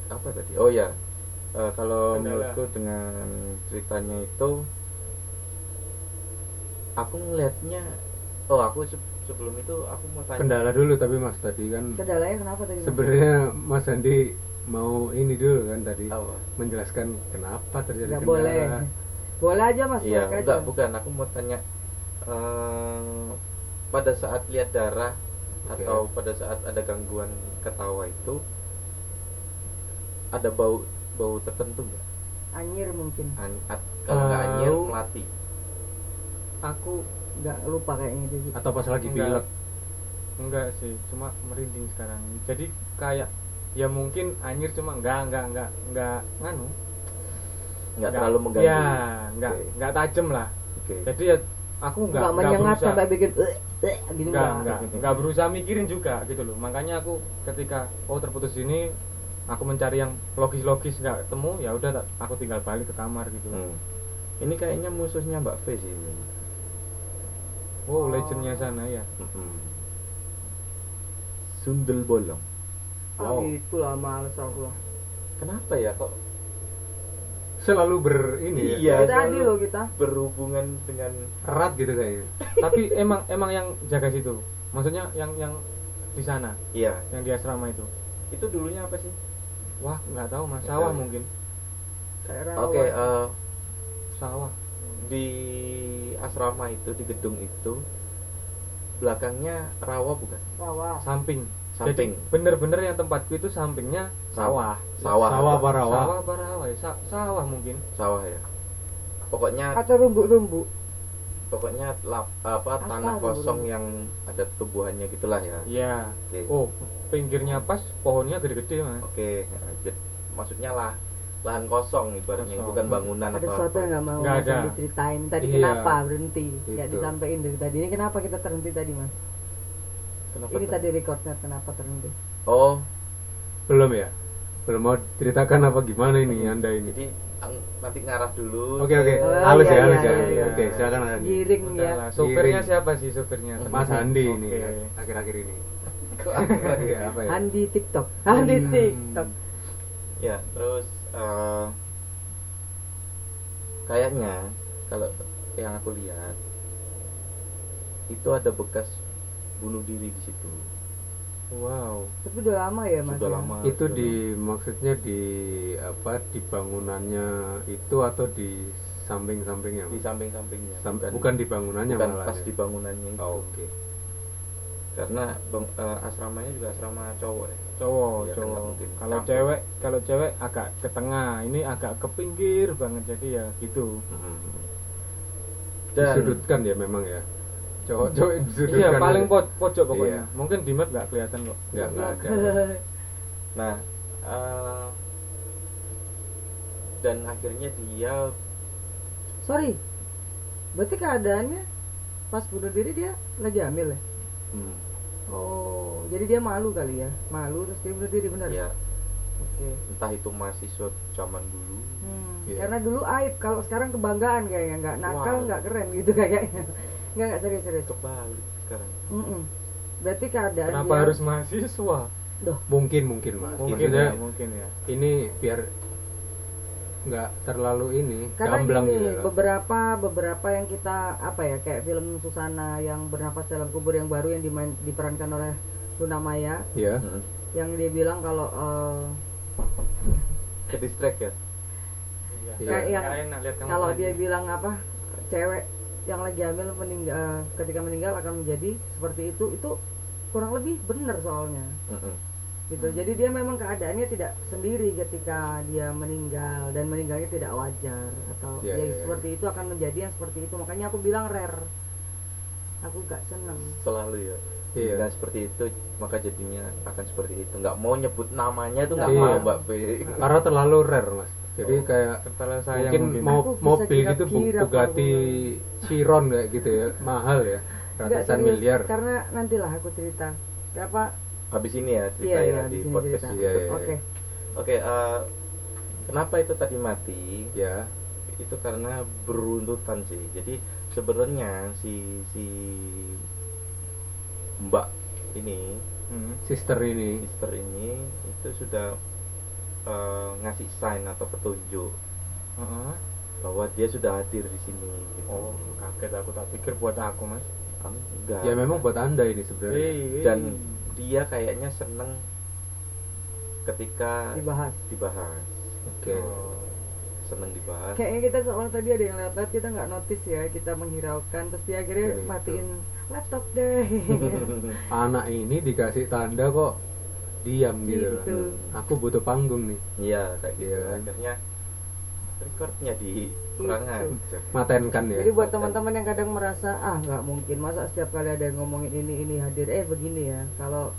[SPEAKER 7] apa tadi? Oh ya, Eh, kalau
[SPEAKER 6] Kendala.
[SPEAKER 7] menurutku dengan ceritanya itu, aku ngelihatnya, oh aku se- sebelum itu aku mau tanya.
[SPEAKER 2] kendala dulu tapi mas tadi kan
[SPEAKER 5] kendalanya kenapa tadi Mas?
[SPEAKER 2] sebenarnya mas Andi mau ini dulu kan tadi
[SPEAKER 7] Apa?
[SPEAKER 2] menjelaskan kenapa terjadi
[SPEAKER 5] Nggak
[SPEAKER 2] kendala
[SPEAKER 5] boleh. Boleh aja mas,
[SPEAKER 7] Iya,
[SPEAKER 5] boleh
[SPEAKER 7] enggak
[SPEAKER 5] aja.
[SPEAKER 7] bukan. Aku mau tanya eh, pada saat lihat darah
[SPEAKER 2] Oke.
[SPEAKER 7] atau pada saat ada gangguan ketawa itu ada bau bau tertentu nggak?
[SPEAKER 5] Anjir mungkin,
[SPEAKER 7] An- at- kalau nggak anyir
[SPEAKER 6] Bau.
[SPEAKER 7] melati.
[SPEAKER 6] Aku
[SPEAKER 5] nggak lupa kayaknya dia.
[SPEAKER 2] atau pas lagi
[SPEAKER 6] Enggak.
[SPEAKER 2] pilek
[SPEAKER 6] Enggak sih, cuma merinding sekarang. Jadi kayak ya mungkin anjir cuma enggak enggak enggak enggak nganu.
[SPEAKER 7] Nggak terlalu mengganggu.
[SPEAKER 6] Ya, enggak
[SPEAKER 7] Oke.
[SPEAKER 6] enggak tajam lah.
[SPEAKER 7] Oke.
[SPEAKER 6] Jadi ya aku enggak
[SPEAKER 5] Nggak menyengat
[SPEAKER 6] berusaha,
[SPEAKER 5] sampai bikin "Eh, eh," gitu
[SPEAKER 6] enggak,
[SPEAKER 5] nggak.
[SPEAKER 6] enggak, enggak berusaha mikirin juga gitu loh. Makanya aku ketika oh terputus ini aku mencari yang logis-logis enggak ketemu ya udah tak- aku tinggal balik ke kamar gitu.
[SPEAKER 7] Hmm. Ini kayaknya musuhnya Mbak Fe sih ini.
[SPEAKER 6] Oh, legendnya sana ya.
[SPEAKER 7] Mm-mm. Sundel bolong.
[SPEAKER 5] Ah,
[SPEAKER 7] Wow.
[SPEAKER 5] gitu lah males aku. lah.
[SPEAKER 7] Kenapa ya kok
[SPEAKER 2] selalu ber ini ya,
[SPEAKER 7] Iya,
[SPEAKER 5] Kita tadi
[SPEAKER 7] selalu-
[SPEAKER 5] loh kita.
[SPEAKER 7] berhubungan dengan
[SPEAKER 2] erat gitu kayaknya
[SPEAKER 6] Tapi emang emang yang jaga situ. Maksudnya yang yang di sana,
[SPEAKER 7] iya,
[SPEAKER 6] yang di asrama itu.
[SPEAKER 7] itu dulunya apa sih?
[SPEAKER 6] Wah, enggak tahu Mas.
[SPEAKER 7] Nggak
[SPEAKER 6] Sawah
[SPEAKER 7] tahu.
[SPEAKER 6] mungkin.
[SPEAKER 5] Kayak rawan.
[SPEAKER 7] Oke, eh,
[SPEAKER 6] Sawah.
[SPEAKER 7] di asrama itu di gedung itu belakangnya rawa bukan
[SPEAKER 5] Wah, wah.
[SPEAKER 6] samping
[SPEAKER 7] samping
[SPEAKER 6] jadi bener-bener yang tempatku itu sampingnya sawah
[SPEAKER 7] sawah
[SPEAKER 2] sawah
[SPEAKER 7] apa?
[SPEAKER 2] parawa
[SPEAKER 6] sawah apa rawa ya? Sa- sawah mungkin
[SPEAKER 7] sawah ya pokoknya
[SPEAKER 5] Atau rumbu-rumbu.
[SPEAKER 7] pokoknya lap, apa
[SPEAKER 5] Apa
[SPEAKER 7] tanah
[SPEAKER 5] dulu?
[SPEAKER 7] kosong yang ada tumbuhannya gitulah ya
[SPEAKER 6] ya
[SPEAKER 7] oke
[SPEAKER 6] oh pinggirnya pas pohonnya gede-gede mas
[SPEAKER 7] oke Jadi, maksudnya lah lahan kosong ibaratnya
[SPEAKER 6] Kosong.
[SPEAKER 7] bukan bangunan
[SPEAKER 5] Ada
[SPEAKER 7] atau
[SPEAKER 5] sesuatu yang nggak mau
[SPEAKER 6] Nggak
[SPEAKER 5] Mas
[SPEAKER 6] ada.
[SPEAKER 5] Andi ceritain. Tadi
[SPEAKER 2] Iya.
[SPEAKER 5] kenapa berhenti? Nggak
[SPEAKER 2] Itu.
[SPEAKER 5] disampaikan dari tadi. Ini kenapa kita terhenti tadi mas?
[SPEAKER 7] Kenapa
[SPEAKER 5] ini
[SPEAKER 7] tuh?
[SPEAKER 5] tadi recordnya kenapa terhenti
[SPEAKER 7] Oh,
[SPEAKER 2] belum ya belum mau ceritakan apa gimana ini anda ini
[SPEAKER 7] jadi ang- nanti ngarah dulu.
[SPEAKER 2] oke oke
[SPEAKER 5] Oh,
[SPEAKER 2] halus ya
[SPEAKER 5] iya,
[SPEAKER 2] halus
[SPEAKER 5] iya,
[SPEAKER 2] ya
[SPEAKER 5] iya.
[SPEAKER 2] oke silakan Mas Andi
[SPEAKER 5] giring
[SPEAKER 6] Udah
[SPEAKER 5] ya
[SPEAKER 6] lah, sopirnya
[SPEAKER 2] Giring.
[SPEAKER 6] siapa sih sopirnya?
[SPEAKER 2] Mas
[SPEAKER 6] Teman.
[SPEAKER 2] Andi
[SPEAKER 6] Iya. Oke.
[SPEAKER 2] ini ya. akhir-akhir ini
[SPEAKER 7] Oke.
[SPEAKER 2] Iya, apa ya
[SPEAKER 5] Andi TikTok Andi
[SPEAKER 2] Hmm.
[SPEAKER 5] TikTok
[SPEAKER 7] ya, terus eh, kayaknya kalau yang aku lihat itu ada bekas bunuh diri di situ.
[SPEAKER 6] Wow.
[SPEAKER 5] tapi udah lama ya mas
[SPEAKER 7] Sudah
[SPEAKER 5] ya?
[SPEAKER 7] lama.
[SPEAKER 2] itu
[SPEAKER 7] sudah
[SPEAKER 2] di
[SPEAKER 7] lama.
[SPEAKER 2] maksudnya di apa di bangunannya itu atau di samping-sampingnya
[SPEAKER 7] di samping-sampingnya.
[SPEAKER 2] Sam- bukan di bangunannya
[SPEAKER 7] bukan
[SPEAKER 2] malah
[SPEAKER 7] pas
[SPEAKER 2] ya.
[SPEAKER 7] di bangunannya itu.
[SPEAKER 2] Oh, oke
[SPEAKER 7] Karena bang- eh, asramanya juga asrama cowok ya.
[SPEAKER 6] cowok
[SPEAKER 7] Ya, kan nggak
[SPEAKER 6] cowok
[SPEAKER 7] mungkin.
[SPEAKER 6] kalau
[SPEAKER 7] Campur.
[SPEAKER 6] cewek kalau cewek agak ke tengah ini agak ke pinggir banget jadi ya gitu
[SPEAKER 2] Hmm.
[SPEAKER 7] Dan
[SPEAKER 2] disudutkan ya memang ya cowok-cowok yang disudutkan
[SPEAKER 6] iya
[SPEAKER 2] ya.
[SPEAKER 6] paling po- pojok pokoknya
[SPEAKER 2] Iya.
[SPEAKER 6] mungkin di map nggak kelihatan kok
[SPEAKER 2] nggak nggak ada
[SPEAKER 7] Nah, eh, dan akhirnya dia
[SPEAKER 5] sorry berarti keadaannya pas bunuh diri dia lagi hamil ya
[SPEAKER 7] hmm,
[SPEAKER 5] oh jadi dia malu kali ya malu terus dia bunuh diri benar
[SPEAKER 7] ya
[SPEAKER 5] oke
[SPEAKER 7] entah itu mahasiswa zaman dulu.
[SPEAKER 5] Hmm,
[SPEAKER 2] Iya.
[SPEAKER 5] Karena dulu aib, kalau sekarang kebanggaan kayaknya nggak nakal,
[SPEAKER 7] Wah.
[SPEAKER 5] nggak keren gitu kayaknya. Nggak nggak serius serius.
[SPEAKER 7] Kebalik sekarang.
[SPEAKER 5] Mm-mm. Berarti keadaan
[SPEAKER 6] kenapa
[SPEAKER 5] dia-
[SPEAKER 6] harus mahasiswa
[SPEAKER 2] mungkin mungkin mas
[SPEAKER 7] Oh,
[SPEAKER 6] mungkin
[SPEAKER 2] maksudnya
[SPEAKER 6] ya mungkin ya
[SPEAKER 2] ini biar nggak terlalu ini
[SPEAKER 5] karena
[SPEAKER 2] gamblang
[SPEAKER 5] gini,
[SPEAKER 2] gitu loh.
[SPEAKER 5] beberapa beberapa yang kita apa ya kayak film Susana yang bernapas dalam kubur yang baru yang dimain, diperankan oleh Luna Maya
[SPEAKER 2] ya
[SPEAKER 5] yang dia bilang kalau eh,
[SPEAKER 7] Ke distract ya.
[SPEAKER 2] Iya.
[SPEAKER 5] Kayak yang-
[SPEAKER 6] enak lihat kamu
[SPEAKER 5] kalau
[SPEAKER 6] mandi.
[SPEAKER 5] dia bilang apa cewek yang lagi hamil meninggal ketika meninggal akan menjadi seperti itu itu kurang lebih bener soalnya
[SPEAKER 2] Hmm.
[SPEAKER 7] Mm-mm.
[SPEAKER 5] gitu jadi dia memang keadaannya tidak sendiri ketika dia meninggal dan meninggalnya tidak wajar atau
[SPEAKER 2] Iya,
[SPEAKER 5] ya
[SPEAKER 2] iya, iya.
[SPEAKER 5] seperti itu akan menjadi yang seperti itu makanya aku bilang rare aku gak seneng
[SPEAKER 7] Selalu ya.
[SPEAKER 2] Iya.
[SPEAKER 7] Nah, seperti itu maka jadinya akan seperti itu. Nggak mau nyebut namanya itu nggak
[SPEAKER 2] Iya.
[SPEAKER 7] mau Mbak P.
[SPEAKER 2] karena terlalu rare mas jadi
[SPEAKER 7] Oh.
[SPEAKER 2] kayak
[SPEAKER 6] terlalu sayang
[SPEAKER 2] mungkin mau
[SPEAKER 5] Aku bisa
[SPEAKER 2] mobil gitu Bu-
[SPEAKER 5] kira-kira kalau
[SPEAKER 2] Bugatti
[SPEAKER 5] gue-
[SPEAKER 2] Chiron kayak gitu ya mahal ya
[SPEAKER 5] Nggak,
[SPEAKER 2] ratusan
[SPEAKER 5] serius,
[SPEAKER 2] miliar
[SPEAKER 5] karena nantilah aku cerita apa
[SPEAKER 7] Habis ini ya cerita
[SPEAKER 5] iya
[SPEAKER 7] ya
[SPEAKER 5] iya
[SPEAKER 7] di
[SPEAKER 5] di sini
[SPEAKER 7] podcast.
[SPEAKER 5] cerita
[SPEAKER 2] iya, iya, iya.
[SPEAKER 5] oke
[SPEAKER 7] Oke, eh, kenapa itu tadi mati?
[SPEAKER 2] ya
[SPEAKER 7] itu karena beruntutan sih jadi sebenarnya si si mbak ini
[SPEAKER 6] Hmm.
[SPEAKER 2] sister ini
[SPEAKER 7] sister ini itu sudah eh, ngasih sign atau petunjuk
[SPEAKER 6] Heeh.
[SPEAKER 7] bahwa dia sudah hadir di sini gitu.
[SPEAKER 6] oh kaget aku tak pikir buat aku mas
[SPEAKER 7] Ah, enggak
[SPEAKER 2] ya memang buat anda ini sebenarnya
[SPEAKER 6] Hei, hei.
[SPEAKER 7] Dan- dia kayaknya seneng ketika
[SPEAKER 5] dibahas
[SPEAKER 7] dibahas
[SPEAKER 2] oke
[SPEAKER 7] Oh, seneng dibahas
[SPEAKER 5] kayaknya kita soalnya tadi ada yang lewat kita nggak notice ya kita menghiraukan terus dia akhirnya
[SPEAKER 7] Iya, iya.
[SPEAKER 5] matiin laptop deh
[SPEAKER 2] Gitu. anak ini dikasih tanda kok diam gitu loh.
[SPEAKER 5] Gitu.
[SPEAKER 2] aku butuh panggung nih
[SPEAKER 7] iya kayak gitu
[SPEAKER 2] Iya kan?
[SPEAKER 7] akhirnya recordnya di kurangan
[SPEAKER 2] matenkan ya
[SPEAKER 5] Jadi buat teman-teman yang kadang merasa ah nggak mungkin masa setiap kali ada yang ngomongin ini ini hadir eh begini ya kalau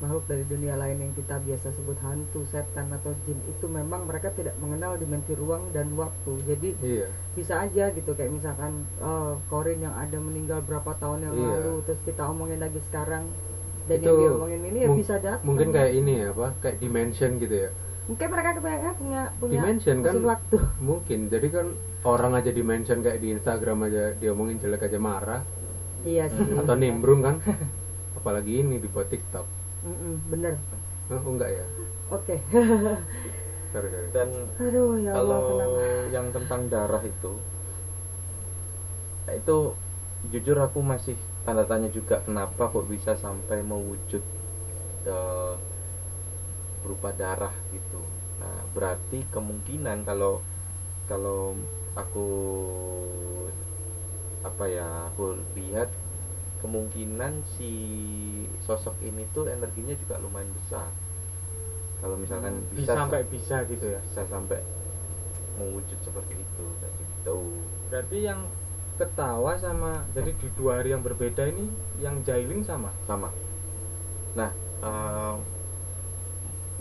[SPEAKER 5] makhluk dari dunia lain yang kita biasa sebut hantu, setan atau jin itu memang mereka tidak mengenal dimensi ruang dan waktu. Jadi
[SPEAKER 2] iya
[SPEAKER 5] bisa aja gitu kayak misalkan eh, Korin yang ada meninggal berapa tahun yang
[SPEAKER 2] Iya.
[SPEAKER 5] lalu terus kita omongin lagi sekarang dan
[SPEAKER 2] Itu
[SPEAKER 5] yang diomongin ini ya
[SPEAKER 2] mung-
[SPEAKER 5] bisa datang.
[SPEAKER 2] mungkin kayak ini ya apa kayak dimension gitu ya
[SPEAKER 5] mungkin mereka kebanyakan punya punya
[SPEAKER 2] dimension kan
[SPEAKER 5] mesin waktu.
[SPEAKER 2] mungkin jadi kan orang aja dimension kayak di Instagram aja diomongin jelek aja marah
[SPEAKER 5] Iya sih.
[SPEAKER 2] atau nimbrung kan apalagi ini dibuat TikTok
[SPEAKER 5] Mm-mm, bener.
[SPEAKER 2] oh enggak ya
[SPEAKER 5] Oke.
[SPEAKER 2] sorry, sorry.
[SPEAKER 7] dan
[SPEAKER 5] Aduh ya Allah
[SPEAKER 7] kalau
[SPEAKER 5] kenapa?
[SPEAKER 7] yang tentang darah itu nah itu jujur aku masih tanda tanya juga kenapa kok bisa sampai mewujud eh, berupa darah gitu nah berarti kemungkinan kalau kalau aku apa ya aku lihat kemungkinan si sosok ini tuh energinya juga lumayan besar kalau misalkan
[SPEAKER 6] Hmm, bisa
[SPEAKER 7] bisa
[SPEAKER 6] sampai bisa gitu ya
[SPEAKER 7] bisa sampai mewujud seperti itu kayak gitu
[SPEAKER 6] berarti yang ketawa sama jadi di dua hari yang berbeda ini yang jailing sama
[SPEAKER 7] sama nah eh,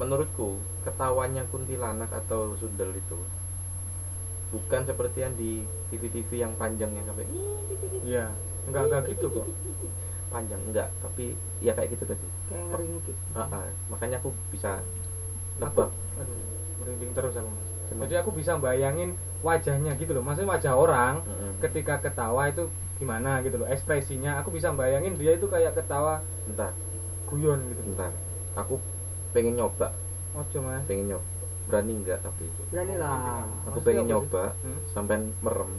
[SPEAKER 7] menurutku ketawanya kuntilanak atau sundel itu bukan seperti yang di TV-TV yang panjangnya sampai
[SPEAKER 6] Iya, enggak enggak gitu kok.
[SPEAKER 7] panjang enggak tapi ya kayak gitu tadi
[SPEAKER 5] kayak ngeringkik
[SPEAKER 7] Ah, ah. makanya aku bisa nebak
[SPEAKER 6] aduh merinding terus aku mas
[SPEAKER 7] Kenapa?
[SPEAKER 6] jadi aku bisa bayangin wajahnya gitu loh maksudnya wajah orang
[SPEAKER 7] Mm-mm.
[SPEAKER 6] ketika ketawa itu gimana gitu loh ekspresinya aku bisa bayangin dia itu kayak ketawa
[SPEAKER 7] bentar
[SPEAKER 6] guyon gitu
[SPEAKER 7] bentar aku pengen nyoba
[SPEAKER 6] ojo mas
[SPEAKER 7] pengen nyoba berani enggak tapi
[SPEAKER 5] berani lah
[SPEAKER 7] aku
[SPEAKER 6] Pasti
[SPEAKER 7] pengen
[SPEAKER 6] aku
[SPEAKER 7] nyoba
[SPEAKER 6] sih. Hmm.
[SPEAKER 7] sampean merem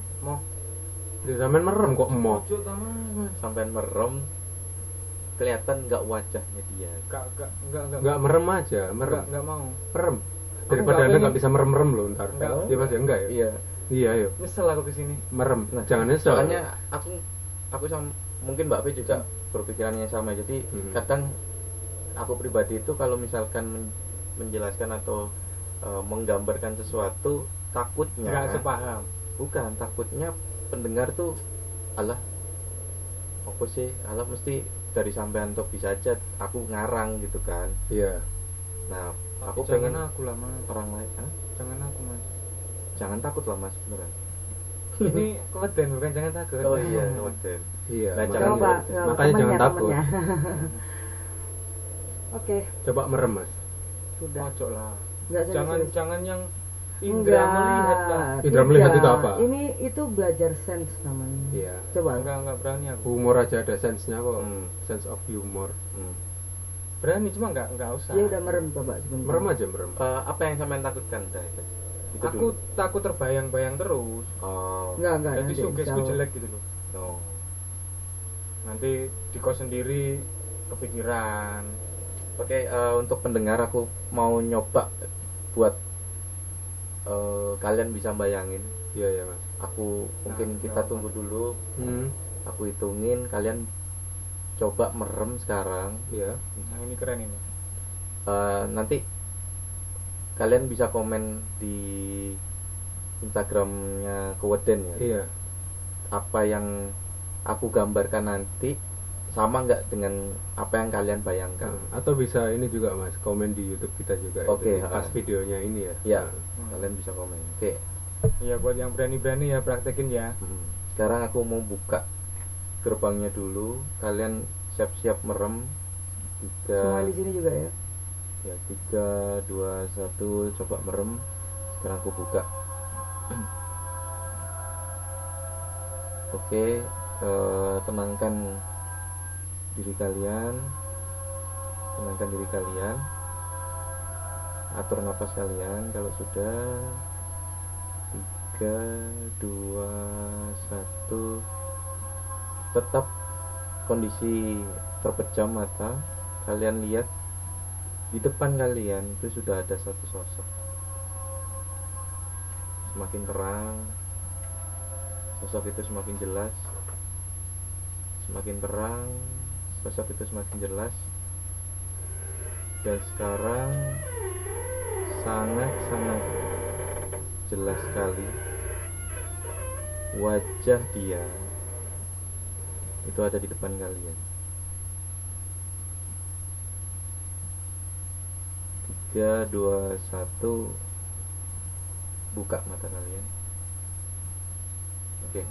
[SPEAKER 2] Di sampean merem kok mau.
[SPEAKER 7] Oh.
[SPEAKER 6] ojo taman
[SPEAKER 7] sampean merem kelihatan nggak wajahnya dia
[SPEAKER 6] gak gak gak gak
[SPEAKER 2] Enggak merem aja, merem.
[SPEAKER 6] gak, gak mau
[SPEAKER 2] Merem.
[SPEAKER 6] Aku
[SPEAKER 2] Daripada
[SPEAKER 6] nggak
[SPEAKER 2] Anda nggak
[SPEAKER 6] pengen.
[SPEAKER 2] bisa merem-merem loh ntar.
[SPEAKER 6] Nggak.
[SPEAKER 2] Iya Mas ya enggak ya?
[SPEAKER 7] iya
[SPEAKER 2] Iya, ayo.
[SPEAKER 6] nyesel aku kesini
[SPEAKER 2] Merem.
[SPEAKER 7] Nah,
[SPEAKER 2] Jangan nyesel.
[SPEAKER 7] soalnya aku aku sama mungkin Mbak P juga berpikirannya sama jadi
[SPEAKER 2] Hmm.
[SPEAKER 7] kadang aku pribadi itu kalau misalkan men- menjelaskan atau eh, menggambarkan sesuatu takutnya
[SPEAKER 6] nggak sepaham
[SPEAKER 7] bukan takutnya pendengar tuh alah apa sih alah mesti dari sampean topi saja aku ngarang gitu kan
[SPEAKER 2] Iya.
[SPEAKER 7] nah aku
[SPEAKER 6] jangan
[SPEAKER 7] pengen
[SPEAKER 6] aku lah mas
[SPEAKER 7] orang lain "Hah?
[SPEAKER 6] jangan aku mas
[SPEAKER 7] jangan takut lah mas beneran
[SPEAKER 6] ini keweden bukan jangan takut
[SPEAKER 7] oh iya Oden.
[SPEAKER 2] Iya.
[SPEAKER 7] Nah,
[SPEAKER 2] makanya-
[SPEAKER 7] jangan-
[SPEAKER 5] coba ya,
[SPEAKER 7] Makanya
[SPEAKER 2] makanya jangan takut.
[SPEAKER 5] temennya. ya. oke
[SPEAKER 2] Coba merem, Mas.
[SPEAKER 5] sudah
[SPEAKER 6] ojo lah
[SPEAKER 5] nggak
[SPEAKER 6] jangan
[SPEAKER 5] serius-serius.
[SPEAKER 6] jangan yang indra
[SPEAKER 5] Enggak,
[SPEAKER 6] melihat lah
[SPEAKER 2] Indra melihat
[SPEAKER 5] tidak.
[SPEAKER 2] itu apa?
[SPEAKER 5] ini itu belajar sense namanya
[SPEAKER 2] Iya.
[SPEAKER 5] coba
[SPEAKER 6] enggak enggak berani aku
[SPEAKER 2] Humor aja ada sense-nya kok.
[SPEAKER 7] Hmm,
[SPEAKER 2] Sense of humor.
[SPEAKER 7] hmm.
[SPEAKER 6] berani cuma enggak enggak usah
[SPEAKER 5] dia Iya, udah merem coba sebentar
[SPEAKER 2] Merem aja, merem.
[SPEAKER 7] Eh, apa yang sampean takutkan Dah, itu Itu
[SPEAKER 6] aku takut terbayang-bayang terus
[SPEAKER 7] Oh,
[SPEAKER 5] nggak nggak
[SPEAKER 6] jadi
[SPEAKER 5] Nah, nanti
[SPEAKER 6] sugesku
[SPEAKER 5] insya Allah.
[SPEAKER 6] jelek gitu loh
[SPEAKER 7] no.
[SPEAKER 6] nanti di kos sendiri kepikiran
[SPEAKER 7] Oke, eh, untuk pendengar aku mau nyoba buat eh, kalian bisa bayangin.
[SPEAKER 2] Iya, iya, Mas. ya,
[SPEAKER 7] Aku mungkin
[SPEAKER 6] Nah,
[SPEAKER 7] kita
[SPEAKER 6] nyaman.
[SPEAKER 7] tunggu dulu.
[SPEAKER 2] Hmm,
[SPEAKER 7] Aku hitungin kalian coba merem sekarang.
[SPEAKER 2] iya.
[SPEAKER 6] nah ini keren ini
[SPEAKER 7] Eh, nanti kalian bisa komen di Instagramnya Keweden ya.
[SPEAKER 2] Iya.
[SPEAKER 7] Apa yang aku gambarkan nanti sama nggak dengan apa yang kalian bayangkan?
[SPEAKER 2] Nah, atau bisa ini juga Mas, komen di YouTube kita juga.
[SPEAKER 7] Oke,
[SPEAKER 2] Jadi
[SPEAKER 7] ha.
[SPEAKER 2] pas videonya ini ya.
[SPEAKER 7] Iya.
[SPEAKER 2] Nah,
[SPEAKER 6] hmm.
[SPEAKER 7] Kalian bisa komen. Oke.
[SPEAKER 6] ya buat yang berani-berani ya praktekin ya
[SPEAKER 7] Hmm. Sekarang aku mau buka gerbangnya dulu. Kalian siap-siap merem.
[SPEAKER 5] semua
[SPEAKER 7] Tiga,
[SPEAKER 5] di sini juga ya
[SPEAKER 7] ya tiga, dua, satu. Coba merem. Sekarang aku buka. Oke, eh, tenangkan diri kalian. Tenangkan diri kalian. Atur nafas kalian. Kalau sudah, tiga, dua, satu. Tetap kondisi terpejam mata. Kalian lihat di depan kalian itu sudah ada satu sosok. Semakin terang, sosok itu semakin jelas. Semakin terang, sosok itu semakin jelas. Dan sekarang sangat-sangat jelas sekali wajah dia itu ada di depan kalian. tiga dua satu buka mata kalian oke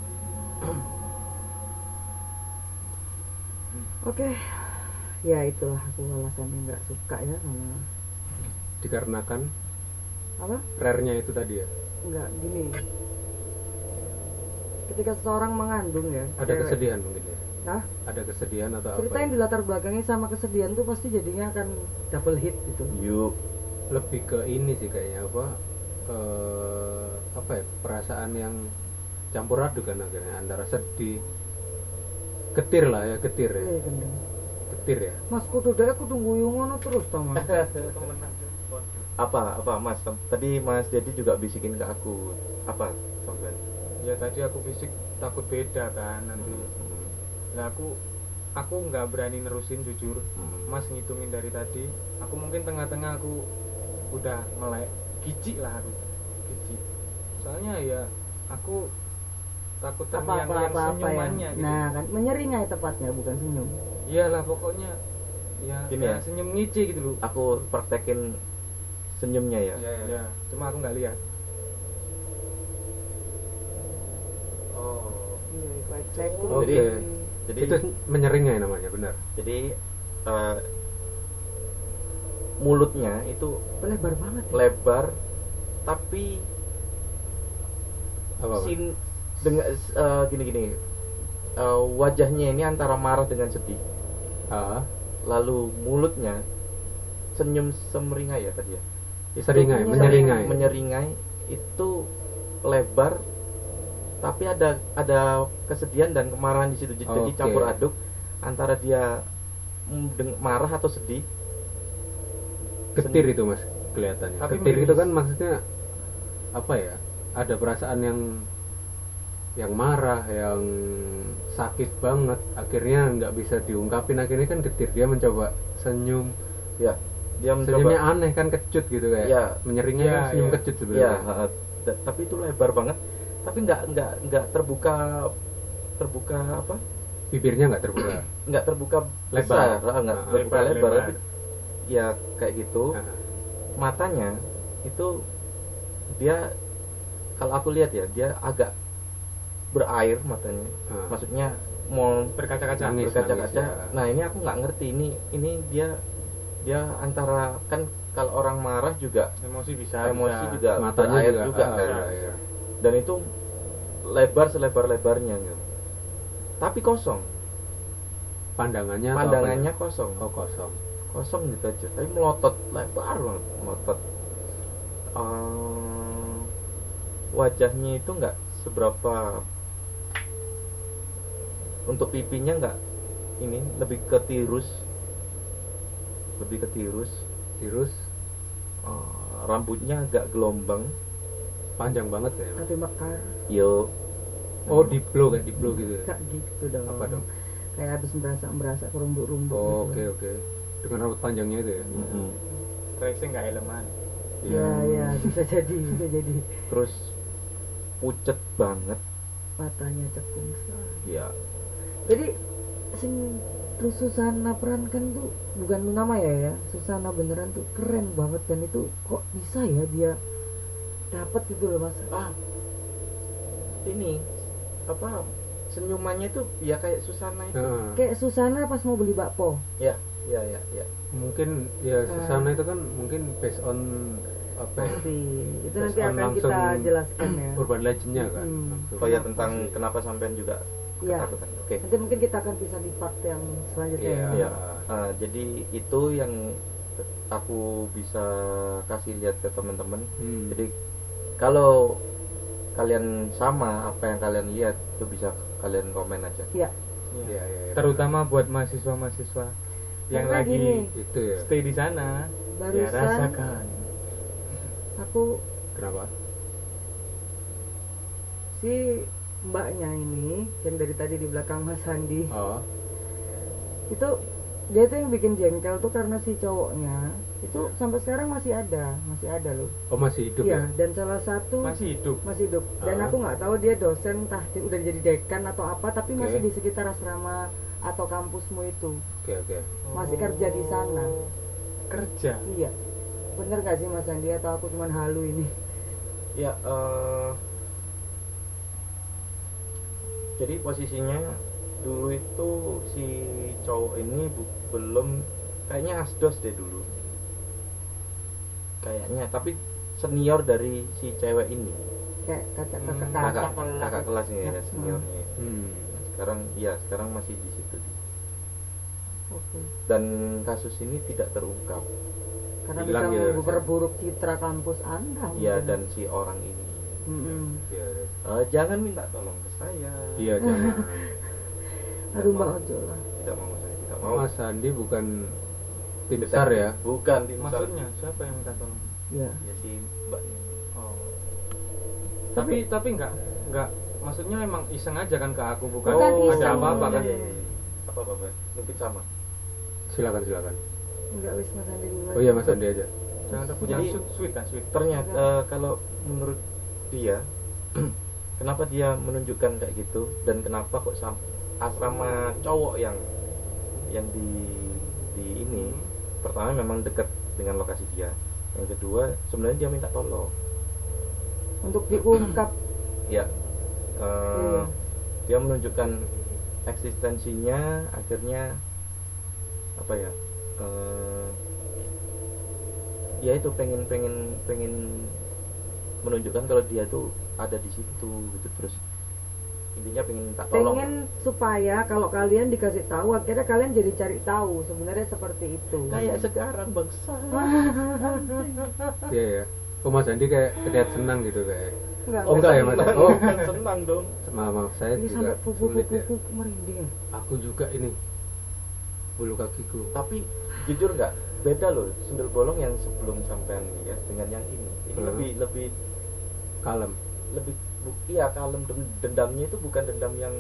[SPEAKER 5] oke ya itulah aku alasannya nggak suka ya sama
[SPEAKER 2] Dikarenakan
[SPEAKER 5] apa
[SPEAKER 2] rare-nya itu tadi ya.
[SPEAKER 5] nggak gini ketika seseorang mengandung ya
[SPEAKER 2] Ada
[SPEAKER 5] cewek,
[SPEAKER 2] kesedihan mungkin ya.
[SPEAKER 5] Hah?
[SPEAKER 2] Ada kesedihan atau
[SPEAKER 5] cerita
[SPEAKER 2] apa?
[SPEAKER 5] yang
[SPEAKER 2] ya?
[SPEAKER 5] dilatar belakangi sama kesedihan tuh pasti jadinya akan double hit gitu
[SPEAKER 7] yuk
[SPEAKER 2] Lebih ke ini sih kayaknya apa? eh, apa ya? Perasaan yang campur aduk kan akhirnya antara sedih getir lah ya getir ya
[SPEAKER 5] Iya, gendeng.
[SPEAKER 2] getir ya
[SPEAKER 5] Mas kudu deh aku tunggu yang ngono terus tau mas
[SPEAKER 7] apa apa mas Tam- tadi mas jadi juga bisikin ke aku apa sampean
[SPEAKER 6] ya tadi aku fisik takut beda kan nanti nah aku aku nggak berani nerusin jujur
[SPEAKER 7] Hmm.
[SPEAKER 6] mas ngitungin dari tadi aku mungkin tengah-tengah aku udah melek gijik lah aku gijik soalnya ya aku takut
[SPEAKER 5] apa apa
[SPEAKER 6] terngiang-ngiang
[SPEAKER 5] apa apa ya
[SPEAKER 6] senyumannya gitu
[SPEAKER 5] nah kan menyeringai tepatnya bukan senyum
[SPEAKER 6] iyalah pokoknya ya,
[SPEAKER 7] Gini
[SPEAKER 6] ya
[SPEAKER 7] ya?
[SPEAKER 6] senyum ngici gitu loh
[SPEAKER 7] aku praktekin senyumnya ya
[SPEAKER 2] iya iya
[SPEAKER 6] ya cuma aku nggak lihat
[SPEAKER 7] oh Oh.
[SPEAKER 5] Iya, baik, baik.
[SPEAKER 2] Oke.
[SPEAKER 7] Jadi- jadi
[SPEAKER 2] itu menyeringnya namanya benar
[SPEAKER 7] jadi eh, mulutnya itu
[SPEAKER 5] lebar banget ya.
[SPEAKER 7] lebar tapi
[SPEAKER 2] apa Pak?
[SPEAKER 7] sin dengan eh, gini-gini Eh, wajahnya ini antara marah dengan sedih
[SPEAKER 2] Ah,
[SPEAKER 7] lalu mulutnya senyum semeringai ya tadi ya Itu
[SPEAKER 2] Seringai,
[SPEAKER 7] sem-
[SPEAKER 2] menyeringai.
[SPEAKER 7] menyeringai itu lebar tapi ada ada kesedihan dan kemarahan di situ jadi
[SPEAKER 2] Oke.
[SPEAKER 7] campur aduk antara dia mm, deng- marah atau sedih
[SPEAKER 2] getir itu mas kelihatannya
[SPEAKER 6] Tapi
[SPEAKER 2] getir
[SPEAKER 6] miris.
[SPEAKER 2] itu kan maksudnya apa ya ada perasaan yang yang marah yang sakit banget akhirnya nggak bisa diungkapin akhirnya kan getir dia mencoba senyum
[SPEAKER 7] Ya, dia mencoba
[SPEAKER 2] senyumnya aneh kan kecut gitu kayak
[SPEAKER 7] ya
[SPEAKER 2] menyeringnya
[SPEAKER 6] Iya,
[SPEAKER 2] kan senyum
[SPEAKER 6] iya.
[SPEAKER 2] kecut
[SPEAKER 7] ya
[SPEAKER 2] sebenarnya
[SPEAKER 7] ha, da- tapi itu lebar banget tapi nggak nggak nggak terbuka terbuka apa
[SPEAKER 2] bibirnya nggak terbuka Nah,
[SPEAKER 7] nggak terbuka
[SPEAKER 2] Lebar.
[SPEAKER 7] besar ah, nggak
[SPEAKER 2] Ah,
[SPEAKER 7] terbuka lebar, tapi ya kayak gitu
[SPEAKER 2] Ah.
[SPEAKER 7] matanya itu dia kalau aku lihat ya dia agak berair matanya
[SPEAKER 2] Ah,
[SPEAKER 7] maksudnya mau
[SPEAKER 6] berkaca-kaca
[SPEAKER 2] Nangis.
[SPEAKER 7] berkaca-kaca
[SPEAKER 2] ya.
[SPEAKER 7] nah ini aku nggak ngerti ini ini dia dia antara kan kalau orang marah juga
[SPEAKER 6] emosi bisa
[SPEAKER 7] emosi
[SPEAKER 6] bisa.
[SPEAKER 7] juga
[SPEAKER 2] matanya
[SPEAKER 7] berair
[SPEAKER 2] juga,
[SPEAKER 7] juga
[SPEAKER 2] ah,
[SPEAKER 7] kan
[SPEAKER 2] iya, iya.
[SPEAKER 7] dan itu lebar selebar lebarnya gitu tapi kosong
[SPEAKER 2] pandangannya atau
[SPEAKER 7] pandangannya kosong
[SPEAKER 2] apanya? oh kosong
[SPEAKER 7] kosong gitu aja tapi melotot lebar banget melotot Eh, wajahnya itu nggak seberapa untuk pipinya nggak ini lebih ke tirus lebih ke tirus
[SPEAKER 2] virus
[SPEAKER 7] Eh, rambutnya agak gelombang Iya.
[SPEAKER 2] panjang banget ya
[SPEAKER 5] tapi mekar
[SPEAKER 7] yo
[SPEAKER 2] oh di blow kayak di blow gitu ya?
[SPEAKER 5] gak gitu dong
[SPEAKER 2] apa dong
[SPEAKER 5] kayak habis merasa merasa kerumbuk rumbuk
[SPEAKER 2] Oh, oke oke dengan rambut panjangnya itu ya
[SPEAKER 7] Mm-mm.
[SPEAKER 6] tracing nggak elemen
[SPEAKER 5] ya ya bisa jadi bisa jadi
[SPEAKER 7] terus pucet banget
[SPEAKER 5] matanya cekung sekali.
[SPEAKER 7] ya
[SPEAKER 5] jadi sing terus Susana perankan tuh bukan nama ya ya Susana beneran tuh keren banget dan itu kok bisa ya dia dapat gitu loh mas
[SPEAKER 7] ah ini apa senyumannya itu ya kayak Susana itu
[SPEAKER 2] Nah,
[SPEAKER 5] kayak Susana pas mau beli bakpo
[SPEAKER 7] ya ya ya
[SPEAKER 2] mungkin ya Susana itu kan mungkin based on apa ya,
[SPEAKER 5] pasti itu
[SPEAKER 2] Terus
[SPEAKER 5] nanti
[SPEAKER 2] on
[SPEAKER 5] akan kita
[SPEAKER 2] langsung-
[SPEAKER 5] jelaskan ya
[SPEAKER 2] urban legendnya kan
[SPEAKER 5] Hmm.
[SPEAKER 2] Langsung.
[SPEAKER 7] oh ya tentang kenapa sampean juga
[SPEAKER 5] ya
[SPEAKER 7] ketakutan oke
[SPEAKER 5] nanti mungkin kita akan bisa di part yang selanjutnya
[SPEAKER 2] Iya.
[SPEAKER 5] ya.
[SPEAKER 7] Iya. Ah, jadi itu yang aku bisa kasih lihat ke teman-teman
[SPEAKER 2] Hmm.
[SPEAKER 7] jadi kalau kalian sama apa yang kalian lihat itu bisa kalian komen aja
[SPEAKER 6] Iya.
[SPEAKER 2] Iya, iya, iya.
[SPEAKER 6] terutama buat mahasiswa-mahasiswa yang
[SPEAKER 5] Karena
[SPEAKER 6] lagi
[SPEAKER 5] gini, kan?
[SPEAKER 2] itu ya
[SPEAKER 6] stay di sana ya
[SPEAKER 5] barusan
[SPEAKER 6] rasakan
[SPEAKER 5] aku
[SPEAKER 2] kenapa
[SPEAKER 5] si mbaknya ini yang dari tadi di belakang Mas Sandi
[SPEAKER 2] oh
[SPEAKER 5] itu dia tuh yang bikin jengkel tuh karena si cowoknya itu
[SPEAKER 2] Iya.
[SPEAKER 5] sampai sekarang masih ada masih ada loh
[SPEAKER 2] oh masih hidup
[SPEAKER 5] iya dan salah satu masih,
[SPEAKER 6] masih hidup
[SPEAKER 5] hidup dan
[SPEAKER 2] Ah.
[SPEAKER 5] aku nggak tahu dia dosen entah dia udah jadi dekan atau apa tapi masih
[SPEAKER 2] Oke.
[SPEAKER 5] di sekitar asrama atau kampusmu itu
[SPEAKER 2] ya oke oke
[SPEAKER 5] Masih kerja di sana.
[SPEAKER 6] kerja
[SPEAKER 5] iya bener gak sih Mas Andi atau aku cuman halu ini
[SPEAKER 7] Ya, eh jadi posisinya dulu itu si cowok ini bu- belum kayaknya asdos deh dulu, kayaknya. Tapi senior dari si cewek ini,
[SPEAKER 5] kayak kakak
[SPEAKER 6] Hmm,
[SPEAKER 5] kakak kakak
[SPEAKER 7] kakak kakak kelasnya ya seniornya.
[SPEAKER 2] hmm.
[SPEAKER 7] Sekarang iya sekarang masih di situ
[SPEAKER 5] Hmm, oke
[SPEAKER 7] dan kasus ini tidak terungkap.
[SPEAKER 5] karena
[SPEAKER 2] Hilang
[SPEAKER 5] bisa
[SPEAKER 2] ya,
[SPEAKER 5] memperburuk citra kampus anda mungkin.
[SPEAKER 7] Ya
[SPEAKER 5] Hmm,
[SPEAKER 7] dan si orang ini
[SPEAKER 5] Mm-mm.
[SPEAKER 2] Iya, iya.
[SPEAKER 7] eh, jangan minta tolong ke saya.
[SPEAKER 2] iya jangan
[SPEAKER 5] aduh mbak ojo lah
[SPEAKER 7] Tidak mau saya tidak mau.
[SPEAKER 2] Oh, Mas Sandi bukan tim besar ya
[SPEAKER 7] Bukan tim besar.
[SPEAKER 6] maksudnya siapa yang minta tolong
[SPEAKER 2] Iya.
[SPEAKER 5] ya
[SPEAKER 7] ya si mbaknya
[SPEAKER 6] oh tapi tapi nggak nggak maksudnya emang iseng aja kan ke aku bukan
[SPEAKER 5] Bukan
[SPEAKER 6] ada
[SPEAKER 5] iseng.
[SPEAKER 6] apa-apa kan
[SPEAKER 7] Iya, iya, iya. apa apa Pak? mungkin sama
[SPEAKER 2] silakan silakan
[SPEAKER 5] enggak wis Mas Andi duluan.
[SPEAKER 2] oh iya Mas Sandi aja
[SPEAKER 6] jangan takut
[SPEAKER 7] Jadi-
[SPEAKER 6] jangan sweet sweet lah sweet
[SPEAKER 7] ternyata eh, kalau menurut dia kenapa dia menunjukkan kayak gitu dan kenapa kok sam- asrama cowok yang yang di di ini pertama memang dekat dengan lokasi dia yang kedua sebenarnya dia minta tolong
[SPEAKER 5] untuk diungkap
[SPEAKER 7] ya eh,
[SPEAKER 5] Iya.
[SPEAKER 7] dia menunjukkan eksistensinya akhirnya apa ya eh, ya itu pengen pengen pengen menunjukkan kalau dia tuh ada di situ gitu terus intinya pengen minta tolong
[SPEAKER 5] pengen supaya kalau kalian dikasih tahu akhirnya kalian jadi cari tahu sebenarnya seperti itu
[SPEAKER 7] kayak sekarang bangsa
[SPEAKER 2] Iya ya. Oh Mas Andi kayak terlihat senang gitu kayak.
[SPEAKER 5] enggak
[SPEAKER 2] Oh, enggak ya, Mas?
[SPEAKER 7] Senang,
[SPEAKER 2] Oh.
[SPEAKER 7] bukan Kan senang dong
[SPEAKER 2] Maaf, maaf saya
[SPEAKER 5] ini
[SPEAKER 2] juga
[SPEAKER 5] sampai pupu
[SPEAKER 2] sulit
[SPEAKER 5] pupu
[SPEAKER 2] ya.
[SPEAKER 5] pupu merinding
[SPEAKER 2] Aku juga ini bulu kakiku.
[SPEAKER 7] tapi jujur nggak beda loh sundel bolong yang sebelum sampean ya dengan yang ini ini
[SPEAKER 2] Hmm.
[SPEAKER 7] lebih lebih
[SPEAKER 2] Kalem,
[SPEAKER 7] lebih bu- iya kalem Dem- dendamnya itu bukan dendam yang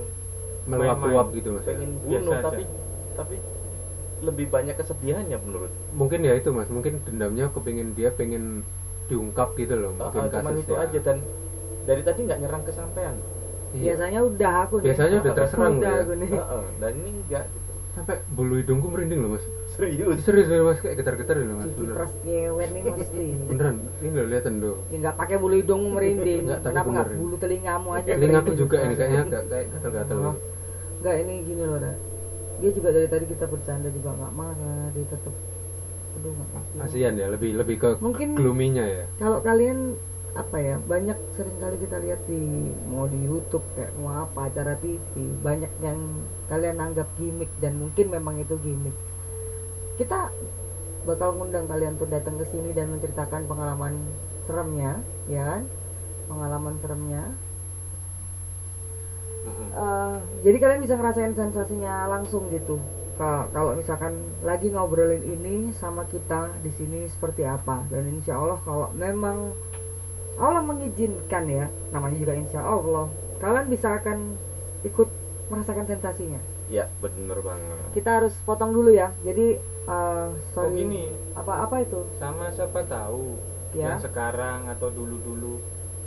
[SPEAKER 2] meluap-luap gitu Mas. ya.
[SPEAKER 7] pengen
[SPEAKER 6] Biasa
[SPEAKER 7] bunuh
[SPEAKER 6] aja.
[SPEAKER 7] tapi tapi lebih banyak kesedihannya menurut
[SPEAKER 2] Mungkin ya itu Mas, mungkin dendamnya kepingin dia pengen diungkap gitu loh
[SPEAKER 7] Ah,
[SPEAKER 2] mungkin
[SPEAKER 7] cuman
[SPEAKER 2] kasusnya.
[SPEAKER 7] itu aja dan dari tadi nggak nyerang kesampaian
[SPEAKER 2] Iya.
[SPEAKER 5] biasanya udah aku nih.
[SPEAKER 2] Biasanya udah
[SPEAKER 7] Aku
[SPEAKER 2] terserang loh
[SPEAKER 5] udah
[SPEAKER 2] ya.
[SPEAKER 5] aku nih
[SPEAKER 7] Heeh, dan ini enggak gitu
[SPEAKER 2] Sampai bulu hidungku merinding loh Mas.
[SPEAKER 7] serius
[SPEAKER 2] Serius loh Mas, kayak getar-getar loh Mas.
[SPEAKER 5] gigi
[SPEAKER 2] Bener.
[SPEAKER 5] terus nyewer nih mesti
[SPEAKER 2] Beneran, ini loh liatan loh.
[SPEAKER 5] ya nggak pakai bulu hidung merinding
[SPEAKER 2] Enggak, tapi
[SPEAKER 5] kenapa nggak
[SPEAKER 2] benerin.
[SPEAKER 5] bulu telingamu aja
[SPEAKER 2] Telingaku
[SPEAKER 5] merinding?
[SPEAKER 2] juga ini kayaknya agak kayak gitu. gatal-gatal.
[SPEAKER 5] Oh. Enggak ini gini loh Ra. Dia juga dari tadi kita bercanda juga nggak marah Dia tetep Aduh nggak ngerti.
[SPEAKER 2] Kasihan ya, lebih lebih ke
[SPEAKER 5] Mungkin
[SPEAKER 2] gluminya ya.
[SPEAKER 5] kalau kalian apa ya banyak sering kali kita lihat di mau di YouTube kayak mau apa acara TV banyak yang kalian anggap gimmick dan mungkin memang itu gimmick kita bakal ngundang kalian untuk datang ke sini dan menceritakan pengalaman seremnya ya kan pengalaman seremnya Eh, jadi kalian bisa ngerasain sensasinya langsung gitu Ka- kalau misalkan lagi ngobrolin ini sama kita di sini seperti apa dan insya Allah kalau memang Allah mengizinkan ya namanya juga insya Allah kalian bisa akan ikut merasakan sensasinya
[SPEAKER 7] ya bener banget
[SPEAKER 5] kita harus potong dulu ya jadi eh,
[SPEAKER 6] Oh
[SPEAKER 5] sorry
[SPEAKER 6] gini,
[SPEAKER 5] apa apa itu
[SPEAKER 6] sama siapa tahu yang
[SPEAKER 5] ya
[SPEAKER 6] sekarang atau dulu-dulu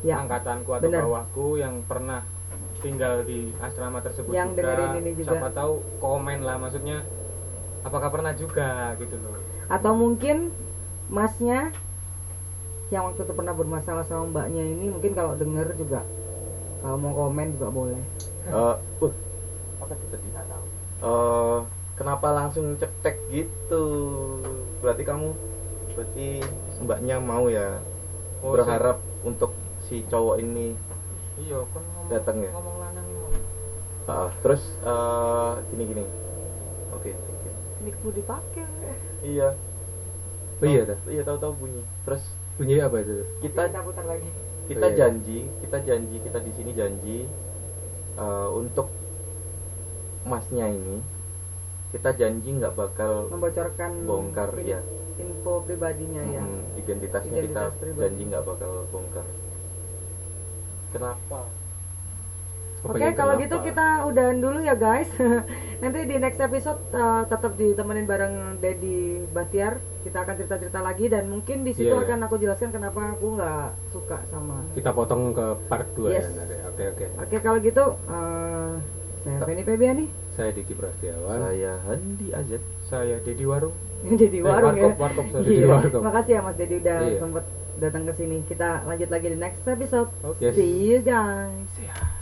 [SPEAKER 5] ya
[SPEAKER 6] angkatanku atau
[SPEAKER 5] bener.
[SPEAKER 6] bawahku yang pernah tinggal di asrama tersebut
[SPEAKER 5] Yang
[SPEAKER 6] juga,
[SPEAKER 5] dengerin ini juga.
[SPEAKER 6] siapa tahu komen lah maksudnya apakah pernah juga gitu loh
[SPEAKER 5] atau mungkin masnya yang waktu itu pernah bermasalah sama mbaknya ini mungkin kalau denger juga kalau mau komen juga boleh
[SPEAKER 7] Eh, uh, apa kita di Eh, kenapa langsung cetek gitu berarti kamu berarti mbaknya mau ya
[SPEAKER 6] Oh,
[SPEAKER 7] berharap untuk si cowok ini
[SPEAKER 6] saya- iya kan ngomong,
[SPEAKER 7] datang ya
[SPEAKER 6] ngomong lanang
[SPEAKER 7] Ah, terus eh, gini gini oke oke.
[SPEAKER 5] Niku dipakai
[SPEAKER 7] iya
[SPEAKER 2] Oh iya dah.
[SPEAKER 7] iya tahu-tahu bunyi terus
[SPEAKER 2] Bunyi apa itu?
[SPEAKER 7] kita
[SPEAKER 5] putar lagi
[SPEAKER 7] kita
[SPEAKER 2] Iya.
[SPEAKER 7] janji kita janji kita di sini janji eh, untuk masnya ini kita janji nggak bakal
[SPEAKER 5] membocorkan
[SPEAKER 7] bongkar
[SPEAKER 5] in-
[SPEAKER 7] ya
[SPEAKER 5] info pribadinya ya
[SPEAKER 7] Mm, identitasnya
[SPEAKER 5] Iya, Identitas
[SPEAKER 7] kita
[SPEAKER 5] pribadi.
[SPEAKER 7] janji nggak bakal bongkar kenapa
[SPEAKER 5] Oke,
[SPEAKER 2] yang
[SPEAKER 5] kalau
[SPEAKER 2] kenapa?
[SPEAKER 5] gitu kita udahan dulu ya guys. Nanti di next episode eh, tetap ditemenin bareng Dedi Batiar. Kita akan cerita-cerita lagi dan mungkin di situ
[SPEAKER 2] Iya, iya.
[SPEAKER 5] akan aku jelaskan kenapa aku nggak suka sama.
[SPEAKER 2] kita potong ke part 2
[SPEAKER 5] Yes.
[SPEAKER 2] ya nanti. Oke oke.
[SPEAKER 5] Oke, kalau gitu eh saya Feni Febiani
[SPEAKER 2] Saya Diki
[SPEAKER 5] Nah,
[SPEAKER 2] Prasetyawan.
[SPEAKER 7] saya Handi aja
[SPEAKER 6] saya Dedi Warung
[SPEAKER 5] jadi
[SPEAKER 6] Eh,
[SPEAKER 5] warung ya.
[SPEAKER 6] warkop warkop sorry.
[SPEAKER 2] Dedi
[SPEAKER 5] Iya.
[SPEAKER 2] Warkop.
[SPEAKER 5] Makasih ya Mas Dedi udah
[SPEAKER 2] Iya.
[SPEAKER 5] sempet datang ke sini. Kita lanjut lagi di next episode.
[SPEAKER 2] Yes.
[SPEAKER 5] See you guys.
[SPEAKER 6] Siap.